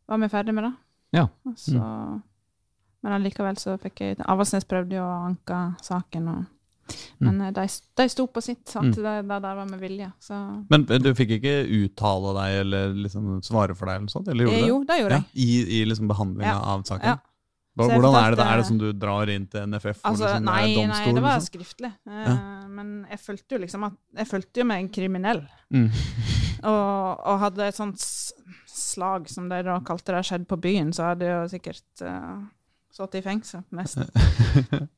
Speaker 2: var vi ferdig med det.
Speaker 4: Ja.
Speaker 2: Og Så, Men allikevel så fikk jeg Avaldsnes prøvde jo å anke saken, og,
Speaker 3: Mm.
Speaker 2: men eh, de, de sto på sitt. At det, det der var med vilje. Så
Speaker 3: Men eh, du fikk ikke uttale deg eller liksom svare for deg, eller noe sånt? Eller gjorde
Speaker 2: Eh,
Speaker 3: du det?
Speaker 2: jo, det gjorde jeg.
Speaker 3: I, i liksom behandlinga
Speaker 2: Ja.
Speaker 3: av saken?
Speaker 2: Ja.
Speaker 3: Hva,
Speaker 2: Så jeg
Speaker 3: hvordan er det,
Speaker 2: fortalte-
Speaker 3: er det som du drar inn til NFF? hvor
Speaker 2: Altså,
Speaker 3: liksom det er
Speaker 2: nei, nei,
Speaker 3: domstol,
Speaker 2: det var
Speaker 3: liksom?
Speaker 2: skriftlig. Eh,
Speaker 3: Ja.
Speaker 2: Men jeg følte jo liksom at Jeg følte jo meg kriminell.
Speaker 3: Mm.
Speaker 2: Og, og hadde et sånt s- slag, som de da kalte det, skjedd på byen, så hadde jeg jo sikkert uh, sittet i fengsel, nesten.
Speaker 3: (laughs)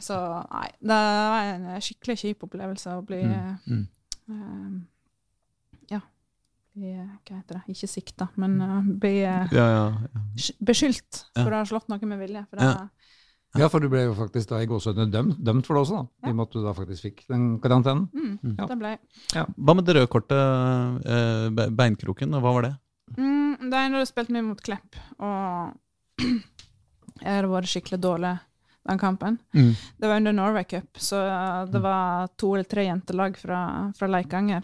Speaker 2: Så nei, det var en skikkelig kjip opplevelse å bli
Speaker 3: Mm, mm.
Speaker 2: eh, Ja. Bli, eh, hva heter det? Ikke sikta, men eh, bli eh,
Speaker 3: Ja, ja.
Speaker 2: sk- beskyldt
Speaker 3: Ja.
Speaker 2: for å ha slått noe med vilje. For det,
Speaker 3: Ja.
Speaker 4: Ja, for du ble jo faktisk da i gåsehudene dømt, dømt for det også, da. I og med at du da faktisk fikk den karantenen.
Speaker 2: mm,
Speaker 4: Ja.
Speaker 2: det ble
Speaker 3: Hva med det røde kortet, eh, be- beinkroken, hva var det?
Speaker 2: Mm, det er når du spilte mye mot Klepp, og (clears throat) jeg hadde vært skikkelig dårlig den kampen.
Speaker 3: Mm.
Speaker 2: Det var under Norway Cup, så det var to eller tre jentelag fra, fra Leikanger.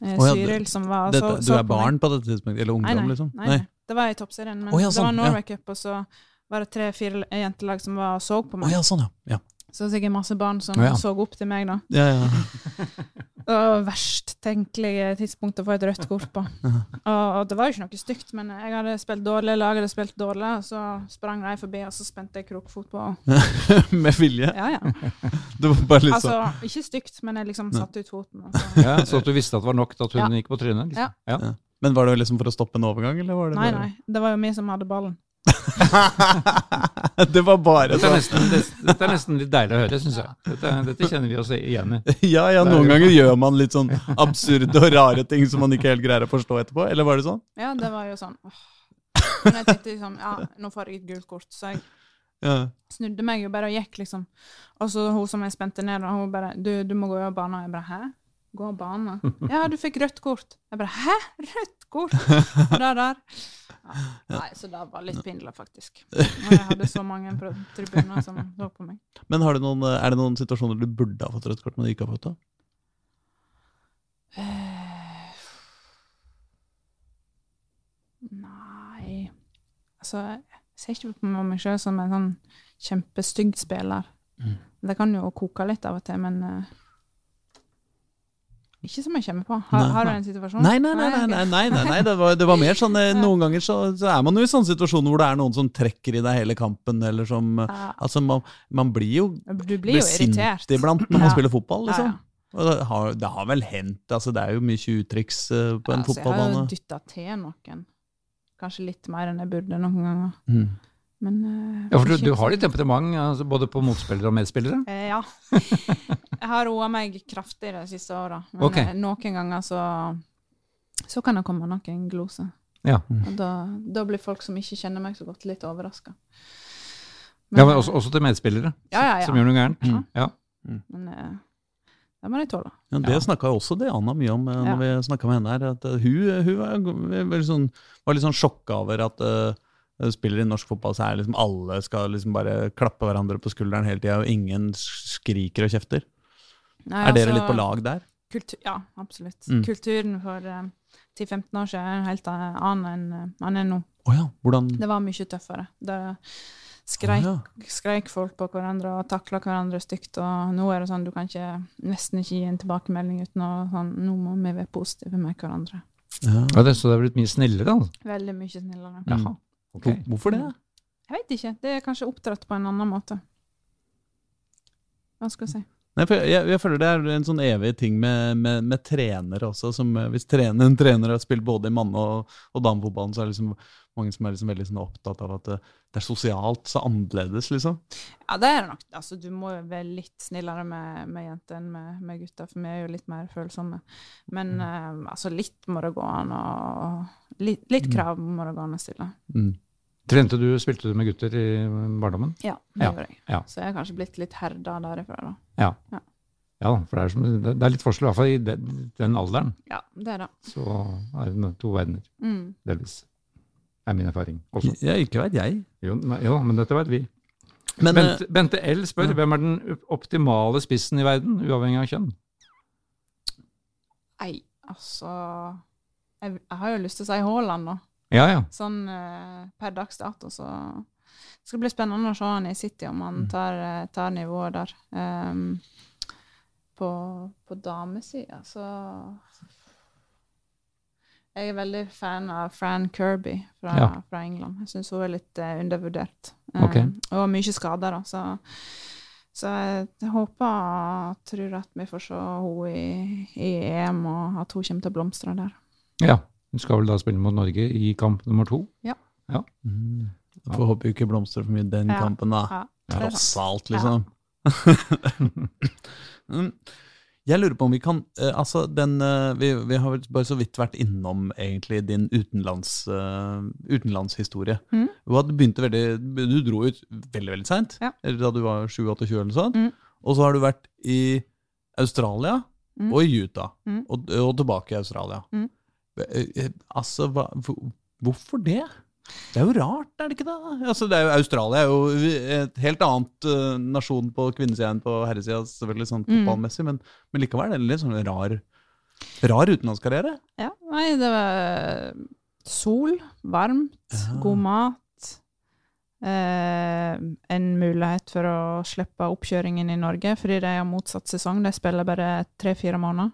Speaker 2: Eh,
Speaker 3: Å ja,
Speaker 2: Cyril som var
Speaker 3: Dette,
Speaker 2: så-
Speaker 3: du
Speaker 2: så
Speaker 3: er
Speaker 2: på meg.
Speaker 3: barn på dette tidspunktet? Eller ungdom,
Speaker 2: Nei, nei,
Speaker 3: liksom?
Speaker 2: Nei, nei. Det var i toppserien, men
Speaker 3: Å ja,
Speaker 2: det
Speaker 3: sånn,
Speaker 2: var
Speaker 3: ja.
Speaker 2: Norway Cup, og så var det tre-fire jentelag som var og så på
Speaker 3: Å
Speaker 2: meg.
Speaker 3: ja, sånn, ja. ja.
Speaker 2: Så sikkert masse barn som
Speaker 4: Å ja.
Speaker 2: så opp til meg, da.
Speaker 3: ja, ja. (laughs)
Speaker 2: Det var verst tenkelige tidspunkt å få et rødt kort
Speaker 3: (laughs)
Speaker 2: på. Og, og det var jo ikke noe stygt, men jeg hadde spilt dårlig, laget hadde spilt dårlig, og så sprang de forbi, og så spente jeg krokfot på.
Speaker 3: Med vilje?
Speaker 2: Ja, ja.
Speaker 3: (laughs) Det var bare litt
Speaker 2: Altså, ikke stygt, men jeg liksom satte ut foten. Og så.
Speaker 4: Ja, så at du visste at det var nok til at hun gikk på trynet.
Speaker 2: Ja.
Speaker 4: Liksom. Ja.
Speaker 3: sånn. Men var det liksom for å stoppe en overgang, eller var det
Speaker 2: Nei,
Speaker 3: bare
Speaker 2: nei, det var jo vi som hadde ballen.
Speaker 3: (laughs) Det var bare
Speaker 4: Dette er
Speaker 3: sånn.
Speaker 4: nesten, det- dette er nesten litt deilig å høre, syns jeg. Dette, dette kjenner vi oss igjen i.
Speaker 3: Ja, ja, noen ganger gjør man litt sånn absurde og rare ting som man ikke helt greier å forstå etterpå. Eller var det sånn?
Speaker 2: Ja, det var jo sånn (laughs) åh. Men jeg tenkte liksom Ja, nå får jeg et gult kort, så jeg
Speaker 3: Ja.
Speaker 2: snudde meg jo bare og gikk, liksom. Og så hun som jeg spente ned, og hun bare du, 'Du må gå av banen.' Og jeg bare 'Hæ? Gå av banen?' 'Ja, du fikk rødt kort.' Jeg bare 'Hæ? Rødt kort?' Og det der. Ja. Nei, så det var litt pinlig, faktisk. Når jeg hadde så mange på tribunen som så på meg.
Speaker 3: Men har du noen, eh, er det noen situasjoner du burde ha fått rødt kort, men du ikke har fått det?
Speaker 2: Eh, Nei Altså, jeg ser ikke på meg sjøl som en sånn kjempestygg spiller.
Speaker 3: Mm.
Speaker 2: Det kan jo koke litt av og til, men eh, ikke som jeg kommer på. Har,
Speaker 3: Nei,
Speaker 2: har du
Speaker 3: nei.
Speaker 2: en situasjon?
Speaker 3: Nei, nei, nei. nei, nei, nei, nei, nei. Det, var, det var mer sånn eh, Noen ganger så, så er man jo i sånne situasjoner hvor det er noen som trekker i deg hele kampen, eller som eh,
Speaker 2: Ja.
Speaker 3: Altså, man, man blir jo
Speaker 2: Du blir jo irritert.
Speaker 3: sint iblant når man
Speaker 2: Ja.
Speaker 3: spiller fotball, liksom.
Speaker 2: Ja, ja.
Speaker 3: Og det har, det har vel hendt. Altså, det er jo mye tjuvtriks eh, på en
Speaker 2: Altså, Jeg har
Speaker 3: fotballbane.
Speaker 2: jo dytta til noen. Kanskje litt mer enn jeg burde noen ganger.
Speaker 3: Mm.
Speaker 2: Men eh,
Speaker 4: Ja, for du, du har litt temperament, altså, både på motspillere og medspillere.
Speaker 2: Eh,
Speaker 3: (laughs)
Speaker 2: ja. Jeg har roa meg kraftig de siste åra. Men
Speaker 4: Ok.
Speaker 2: eh, noen ganger så så kan det komme noen gloser.
Speaker 4: Ja.
Speaker 3: Mm.
Speaker 2: Og da, da blir folk som ikke kjenner meg så godt, litt overraska.
Speaker 4: Ja, men også, også til medspillere,
Speaker 2: Ja, ja, ja.
Speaker 4: som gjør noe gærent.
Speaker 2: Ja.
Speaker 4: Ja.
Speaker 2: men eh, det må de tåle.
Speaker 3: Ja, det snakka jo også Diana mye om eh, når vi snakka med henne her. at eh, Hun, hun var, jo veldig sånn, var litt sånn sjokka over at eh, spillere i norsk fotball så er liksom alle skal liksom bare klappe hverandre på skulderen hele tida, og ingen skriker og kjefter.
Speaker 2: Nei,
Speaker 3: er dere
Speaker 2: altså,
Speaker 3: litt på lag der?
Speaker 2: Kultur, ja, absolutt.
Speaker 3: Mm.
Speaker 2: Kulturen for eh, 10-15 år siden er en helt eh, annen enn eh, han er nå.
Speaker 3: Å ja, hvordan
Speaker 2: Det var mye tøffere. Det skreik,
Speaker 3: Å,
Speaker 2: skreik folk på hverandre og takla hverandre stygt. Og nå er det sånn du kan ikke, nesten ikke gi en tilbakemelding uten å sånn Nå må vi være positive med hverandre.
Speaker 3: ja.
Speaker 4: Ja, det, så det er blitt mye snillere, altså.
Speaker 2: Veldig mye snillere.
Speaker 4: Jaha. Ok.
Speaker 3: Hvor- Hvorfor det?
Speaker 2: Jeg veit ikke. Det er kanskje oppdratt på en annen måte. Hva skal jeg si?
Speaker 3: Nei, for jeg, jeg føler det er en sånn evig ting med, med, med trenere også. Som, eh, hvis trener, en trener har spilt både i manne- og, og damefotballen, så er det liksom mange som er liksom veldig sånn opptatt av at eh, det er sosialt så annerledes, liksom.
Speaker 2: Ja, det er det nok. Altså, du må jo være litt snillere med, med jenter enn med, med gutter, for vi er jo litt mer følsomme. Men
Speaker 4: Mm.
Speaker 2: eh, altså, litt må det gå an å Litt, litt
Speaker 4: Mm.
Speaker 2: krav må det gå an å stille.
Speaker 3: Mm.
Speaker 4: Trente du, spilte du med gutter i barndommen?
Speaker 2: Ja, det
Speaker 4: Ja,
Speaker 2: gjør jeg.
Speaker 4: ja.
Speaker 2: Så jeg har kanskje blitt litt herda derifra, da.
Speaker 4: Ja.
Speaker 2: Ja.
Speaker 4: Ja, for det er, som, det det er litt forskjell, i hvert fall i den, den alderen.
Speaker 2: Ja, det da.
Speaker 4: Så er det to verdener,
Speaker 2: Mm.
Speaker 4: delvis. er min erfaring også.
Speaker 3: Ja, ikke veit jeg.
Speaker 4: Jo, nei, jo men dette vet vi.
Speaker 3: Men,
Speaker 4: Bente, Bente L spør hvem er den op- optimale spissen i verden, uavhengig av kjønn?
Speaker 2: Nei, altså jeg, jeg har jo lyst til å si Haaland nå.
Speaker 4: Ja, ja.
Speaker 2: Sånn eh, per dags dato, så Det skal bli spennende å se han i City, om han tar, eh, tar nivået der. Ehm, på på damesida, så Jeg er veldig fan av Fran Kirby fra,
Speaker 4: Ja.
Speaker 2: fra England. Jeg syns hun er litt eh, undervurdert.
Speaker 4: Ok.
Speaker 2: Ehm, og mye skader, da, så så jeg håper og tror at vi får se henne i, i EM, og at hun kommer til å blomstre der.
Speaker 4: ja. Hun skal vel da spille mot Norge i kamp nummer to?
Speaker 3: Mm. Jeg får håpe vi ikke blomstrer for mye i den
Speaker 2: Ja.
Speaker 3: kampen, da.
Speaker 2: Ja, det er
Speaker 3: Tross
Speaker 2: sant.
Speaker 3: alt, liksom. (laughs) Mm. Jeg lurer på om vi kan eh, Altså, den eh, vi, vi har vel bare så vidt vært innom egentlig din utenlands, eh, utenlandshistorie.
Speaker 2: Mm.
Speaker 3: Du, hadde begynte veldig, du dro ut veldig, veldig seint,
Speaker 2: Ja.
Speaker 3: eller da du var 7-28 eller noe sånt.
Speaker 2: Mm.
Speaker 3: Og så har du vært i Australia
Speaker 2: Mm.
Speaker 3: og i Utah,
Speaker 2: Mm.
Speaker 3: og, og tilbake i Australia.
Speaker 2: Mm.
Speaker 3: Eh, eh, Altså, hva, hvor- hvorfor det? Det er jo rart, er det ikke det? Altså, det er jo, Australia er jo et helt annet eh, nasjon på kvinnesida enn på herresida, selvfølgelig sånn
Speaker 2: Mm.
Speaker 3: fotballmessig, men, men likevel er det en litt sånn rar, rar utenlandskarriere.
Speaker 2: Ja, nei, det var eh, sol, varmt,
Speaker 3: Ja.
Speaker 2: god mat. Eh, en mulighet for å slippe oppkjøringen i Norge, fordi de har motsatt sesong. De spiller bare tre-fire måneder.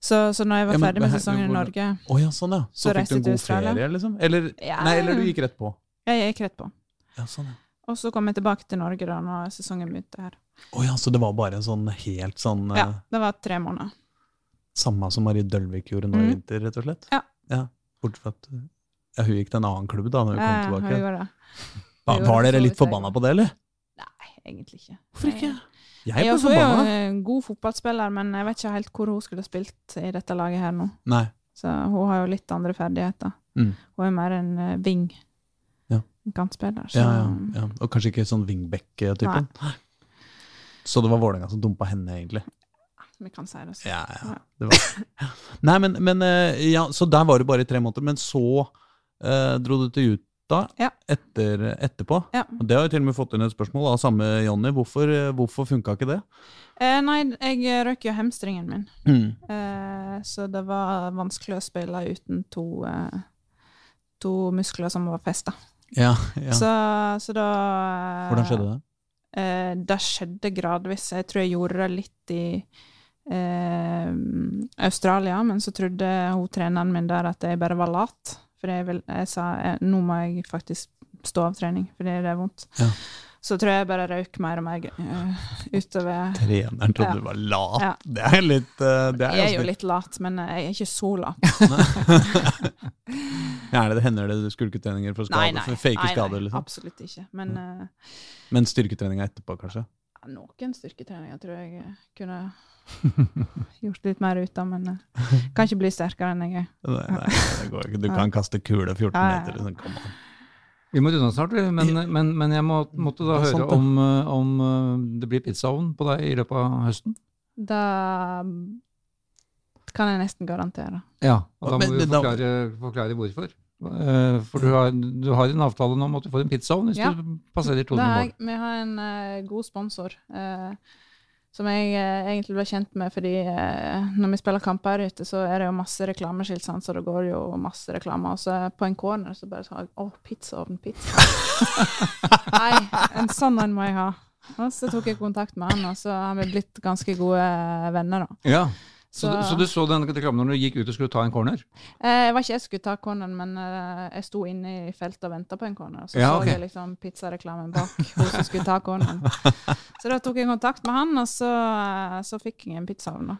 Speaker 2: Så, så når jeg var
Speaker 3: Ja, men
Speaker 2: ferdig med
Speaker 3: her-
Speaker 2: sesongen i
Speaker 3: hvor-
Speaker 2: Norge
Speaker 3: Å ja, sånn ja. Så,
Speaker 2: Så
Speaker 3: fikk du
Speaker 2: reiste
Speaker 3: en
Speaker 2: til
Speaker 3: god
Speaker 2: Australia?
Speaker 3: ferie, liksom? Eller,
Speaker 2: Ja.
Speaker 3: nei, eller du gikk rett på?
Speaker 2: Jeg gikk rett på.
Speaker 3: Ja, sånn ja.
Speaker 2: Og så kom jeg tilbake til Norge da når sesongen begynte her.
Speaker 3: Å ja, så det var bare en sånn helt sånn eh,
Speaker 2: Ja, det var tre måneder.
Speaker 3: Samme som Marie Dølvik gjorde nå i
Speaker 2: Mm.
Speaker 3: vinter, rett og slett?
Speaker 2: Ja.
Speaker 3: Bortsett fra at Ja, hun gikk til en annen klubb da når hun
Speaker 2: Ja,
Speaker 3: kom
Speaker 2: hun
Speaker 3: tilbake.
Speaker 2: Eh, gjorde det.
Speaker 3: Hva,
Speaker 2: gjorde
Speaker 3: var
Speaker 2: det
Speaker 3: dere
Speaker 2: så
Speaker 3: litt
Speaker 2: vidt jeg
Speaker 3: forbanna på det, eller?
Speaker 2: Nei, egentlig ikke.
Speaker 3: Hvorfor ikke?
Speaker 2: Jeg
Speaker 3: Jeg ble
Speaker 2: også er jo
Speaker 3: forbanna.
Speaker 2: en god fotballspiller, men jeg vet ikke helt hvor hun skulle ha spilt i dette laget her nå.
Speaker 3: Nei.
Speaker 2: Så hun har jo litt andre ferdigheter.
Speaker 3: Mm.
Speaker 2: Hun er mer en eh, wing.
Speaker 3: Ja.
Speaker 2: En kantspiller. Så
Speaker 3: Ja, ja, ja. Og kanskje ikke sånn wingback-typen. Så det var Vålerenga som dumpa henne, egentlig.
Speaker 2: vi kan si det sånn.
Speaker 3: Ja, ja.
Speaker 2: Ja.
Speaker 3: Det var. (laughs) Nei, men, men eh, ja, Så der var det bare i tre måneder. Men så eh, dro du til Utah
Speaker 2: Ja.
Speaker 3: etter, etterpå.
Speaker 2: Ja.
Speaker 3: Og Det har jeg til og med fått inn et spørsmål av samme Jonny. Hvorfor, eh, hvorfor funka ikke det?
Speaker 2: Eh, nei, jeg røk jo hamstringen min, eh, så det var vanskelig å spille uten to, eh, to muskler som var festa.
Speaker 3: Ja, ja.
Speaker 2: Så, så da eh,
Speaker 3: Hvordan skjedde det?
Speaker 2: Eh, det skjedde gradvis. Jeg tror jeg gjorde det litt i eh, Australia, men så trodde hun treneren min der at jeg bare var lat. For jeg, vil, jeg sa eh, nå må jeg faktisk stå av trening, fordi det er vondt.
Speaker 3: Ja.
Speaker 2: Så tror jeg bare røyk mer og mer eh, utover
Speaker 3: (laughs) Treneren trodde
Speaker 2: Ja.
Speaker 3: du var lat.
Speaker 2: Ja.
Speaker 3: Det er litt eh, det er,
Speaker 2: Jeg er jo
Speaker 3: ganske-
Speaker 2: litt lat, men eh, jeg er ikke så lat.
Speaker 3: Ja, er det, hender det du skulketreninger for, skade,
Speaker 2: Nei, nei.
Speaker 3: for fake
Speaker 2: nei,
Speaker 3: skader?
Speaker 2: nei,
Speaker 3: Liksom.
Speaker 2: Absolutt ikke. Men eh,
Speaker 3: Men styrketreninga etterpå, kanskje?
Speaker 2: noen styrketreninger tror
Speaker 3: (laughs)
Speaker 2: jeg eh, kunne gjort litt mer ut av, men eh, kan ikke bli sterkere enn jeg er.
Speaker 3: Nei, nei, det går ikke. Du kan kaste kule 14
Speaker 2: Ja, ja, ja.
Speaker 3: meter. Liksom. Kom an.
Speaker 4: Vi må runde av snart, vi, men, men, men jeg må, måtte da
Speaker 3: Det er
Speaker 4: høre
Speaker 3: sant, det.
Speaker 4: om, eh, om eh, det blir pizzaovn på deg i løpet av høsten.
Speaker 2: Da kan jeg nesten garantere.
Speaker 4: Ja, og da
Speaker 3: Men-
Speaker 4: må vi
Speaker 3: men da-
Speaker 4: forklare, forklare hvorfor. Eh, For du har, du har en avtale nå om at du får en pizzaovn hvis
Speaker 2: Ja.
Speaker 4: du passerer
Speaker 2: Da
Speaker 4: 200
Speaker 2: har
Speaker 4: mål.
Speaker 2: jeg, vi har en eh, god sponsor eh, som jeg eh, egentlig ble kjent med fordi eh, når vi spiller kamper her ute, så er det jo masse reklameskilt, sant, så det går jo masse reklame. Og så på en corner så bare sa jeg 'Å, pizzaovn,
Speaker 4: (laughs)
Speaker 2: pizza'. Nei, en sånn en må jeg ha. Og så tok jeg kontakt med han, og så har vi blitt ganske gode eh, venner, da.
Speaker 4: Ja. Så,
Speaker 2: Så-
Speaker 4: du- så du så den reklamen når du gikk ut og skulle ta en corner?
Speaker 2: Eh, jeg var ikke jeg skulle ta corneren, men eh, jeg sto inne i feltet og venta på en corner. Så
Speaker 4: Ja, ok.
Speaker 2: så jeg liksom pizzareklamen bak hun som skulle ta corneren. Så da tok jeg kontakt med han, og så, eh, så fikk jeg en pizzaovn. da.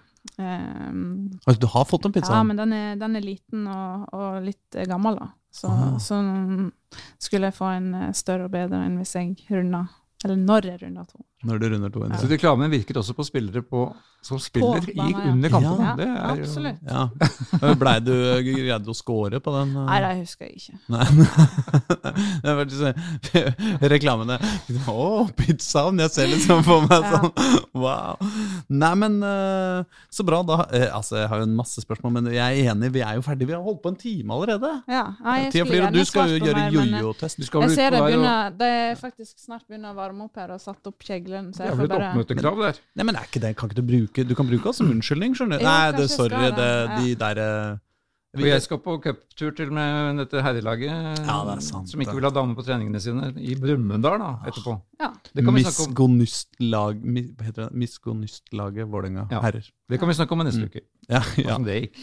Speaker 2: Ehm,
Speaker 3: Altså, du har fått en pizza?
Speaker 2: ja, men den er, den er liten og, og litt eh, gammel, da. Så,
Speaker 3: Ah.
Speaker 2: så skulle jeg få en eh, større og bedre enn hvis jeg runda Eller når jeg runda to.
Speaker 3: Når du runder 200?
Speaker 4: Så reklamen virker også på spillere på, som spiller
Speaker 2: På
Speaker 4: i,
Speaker 2: banen, ja.
Speaker 4: under kampene.
Speaker 2: Ja,
Speaker 4: det er jo-
Speaker 2: absolutt.
Speaker 3: Ja. Blei du greide du å score på den? eh?
Speaker 2: Nei, det husker jeg ikke.
Speaker 3: Nei. (laughs) Det har vært sånn (laughs) reklamene. Å, pizzaen! Jeg ser liksom for meg
Speaker 2: Ja.
Speaker 3: sånn. (laughs) Wow. Nei, men eh, så bra. Da, eh, altså, jeg har jo en masse spørsmål, men jeg er enig, vi er jo ferdige. Vi har holdt på en time allerede.
Speaker 2: Ja, nei, jeg
Speaker 3: Tida
Speaker 2: skulle
Speaker 3: flyr, og
Speaker 2: gjerne
Speaker 3: du skal
Speaker 2: svart
Speaker 3: jo
Speaker 2: på
Speaker 3: gjøre
Speaker 2: mer, men, eh,
Speaker 3: jojo-test.
Speaker 4: Du skal vel
Speaker 2: Jeg
Speaker 4: ut
Speaker 2: ser
Speaker 4: på
Speaker 2: det,
Speaker 4: der og-
Speaker 2: begynner, det er faktisk snart begynner å varme opp her og satt opp kjeglen. Så
Speaker 4: Det
Speaker 2: jeg
Speaker 4: er
Speaker 2: får
Speaker 4: vel et
Speaker 2: bare
Speaker 4: oppmøtekrav der.
Speaker 3: Nei, men er ikke det, kan ikke du bruke Du kan bruke oss som unnskyldning, skjønner du.
Speaker 2: Jo,
Speaker 3: Nei, det,
Speaker 2: kanskje jeg
Speaker 3: sorry,
Speaker 2: skal
Speaker 3: det,
Speaker 2: det,
Speaker 3: de der eh,
Speaker 4: Og jeg skal på cuptur til med dette herrelaget,
Speaker 3: Ja, det er sant,
Speaker 4: som ikke
Speaker 3: det.
Speaker 4: vil ha damer på treningene sine, i Brumunddal da, etterpå.
Speaker 2: Ja.
Speaker 4: Det kan vi snakke om,
Speaker 3: Misgonystlag mi- Hva heter det? Misgonystlaget Vålerenga
Speaker 4: Ja. sånn.
Speaker 3: herrer.
Speaker 4: det kan vi snakke om i neste uke.
Speaker 3: Mm. Ja, ja.
Speaker 4: Hvordan det gikk.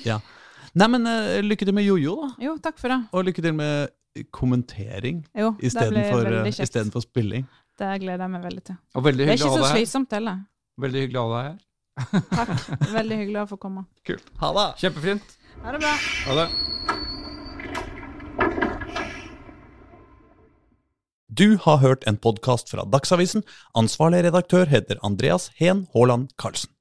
Speaker 3: Nei, men eh, lykke til med jojo, da.
Speaker 2: Jo, takk for det.
Speaker 3: Og lykke til med kommentering
Speaker 2: Jo, det blir
Speaker 3: istedenfor
Speaker 2: veldig kjekt.
Speaker 3: for spilling.
Speaker 2: Det gleder jeg meg veldig til.
Speaker 4: Og veldig
Speaker 2: Det er
Speaker 4: hyggelig
Speaker 2: ikke
Speaker 4: å ha
Speaker 2: så
Speaker 4: deg her.
Speaker 2: slitsomt heller.
Speaker 4: Veldig hyggelig å ha deg her.
Speaker 2: Takk. Veldig hyggelig å få komme.
Speaker 4: Kult.
Speaker 3: Ha det!
Speaker 4: Kjempefint.
Speaker 2: Ha det bra.
Speaker 4: Ha det.
Speaker 3: Du har hørt en podkast fra Dagsavisen. Ansvarlig redaktør heter Andreas Heen Haaland Karlsen.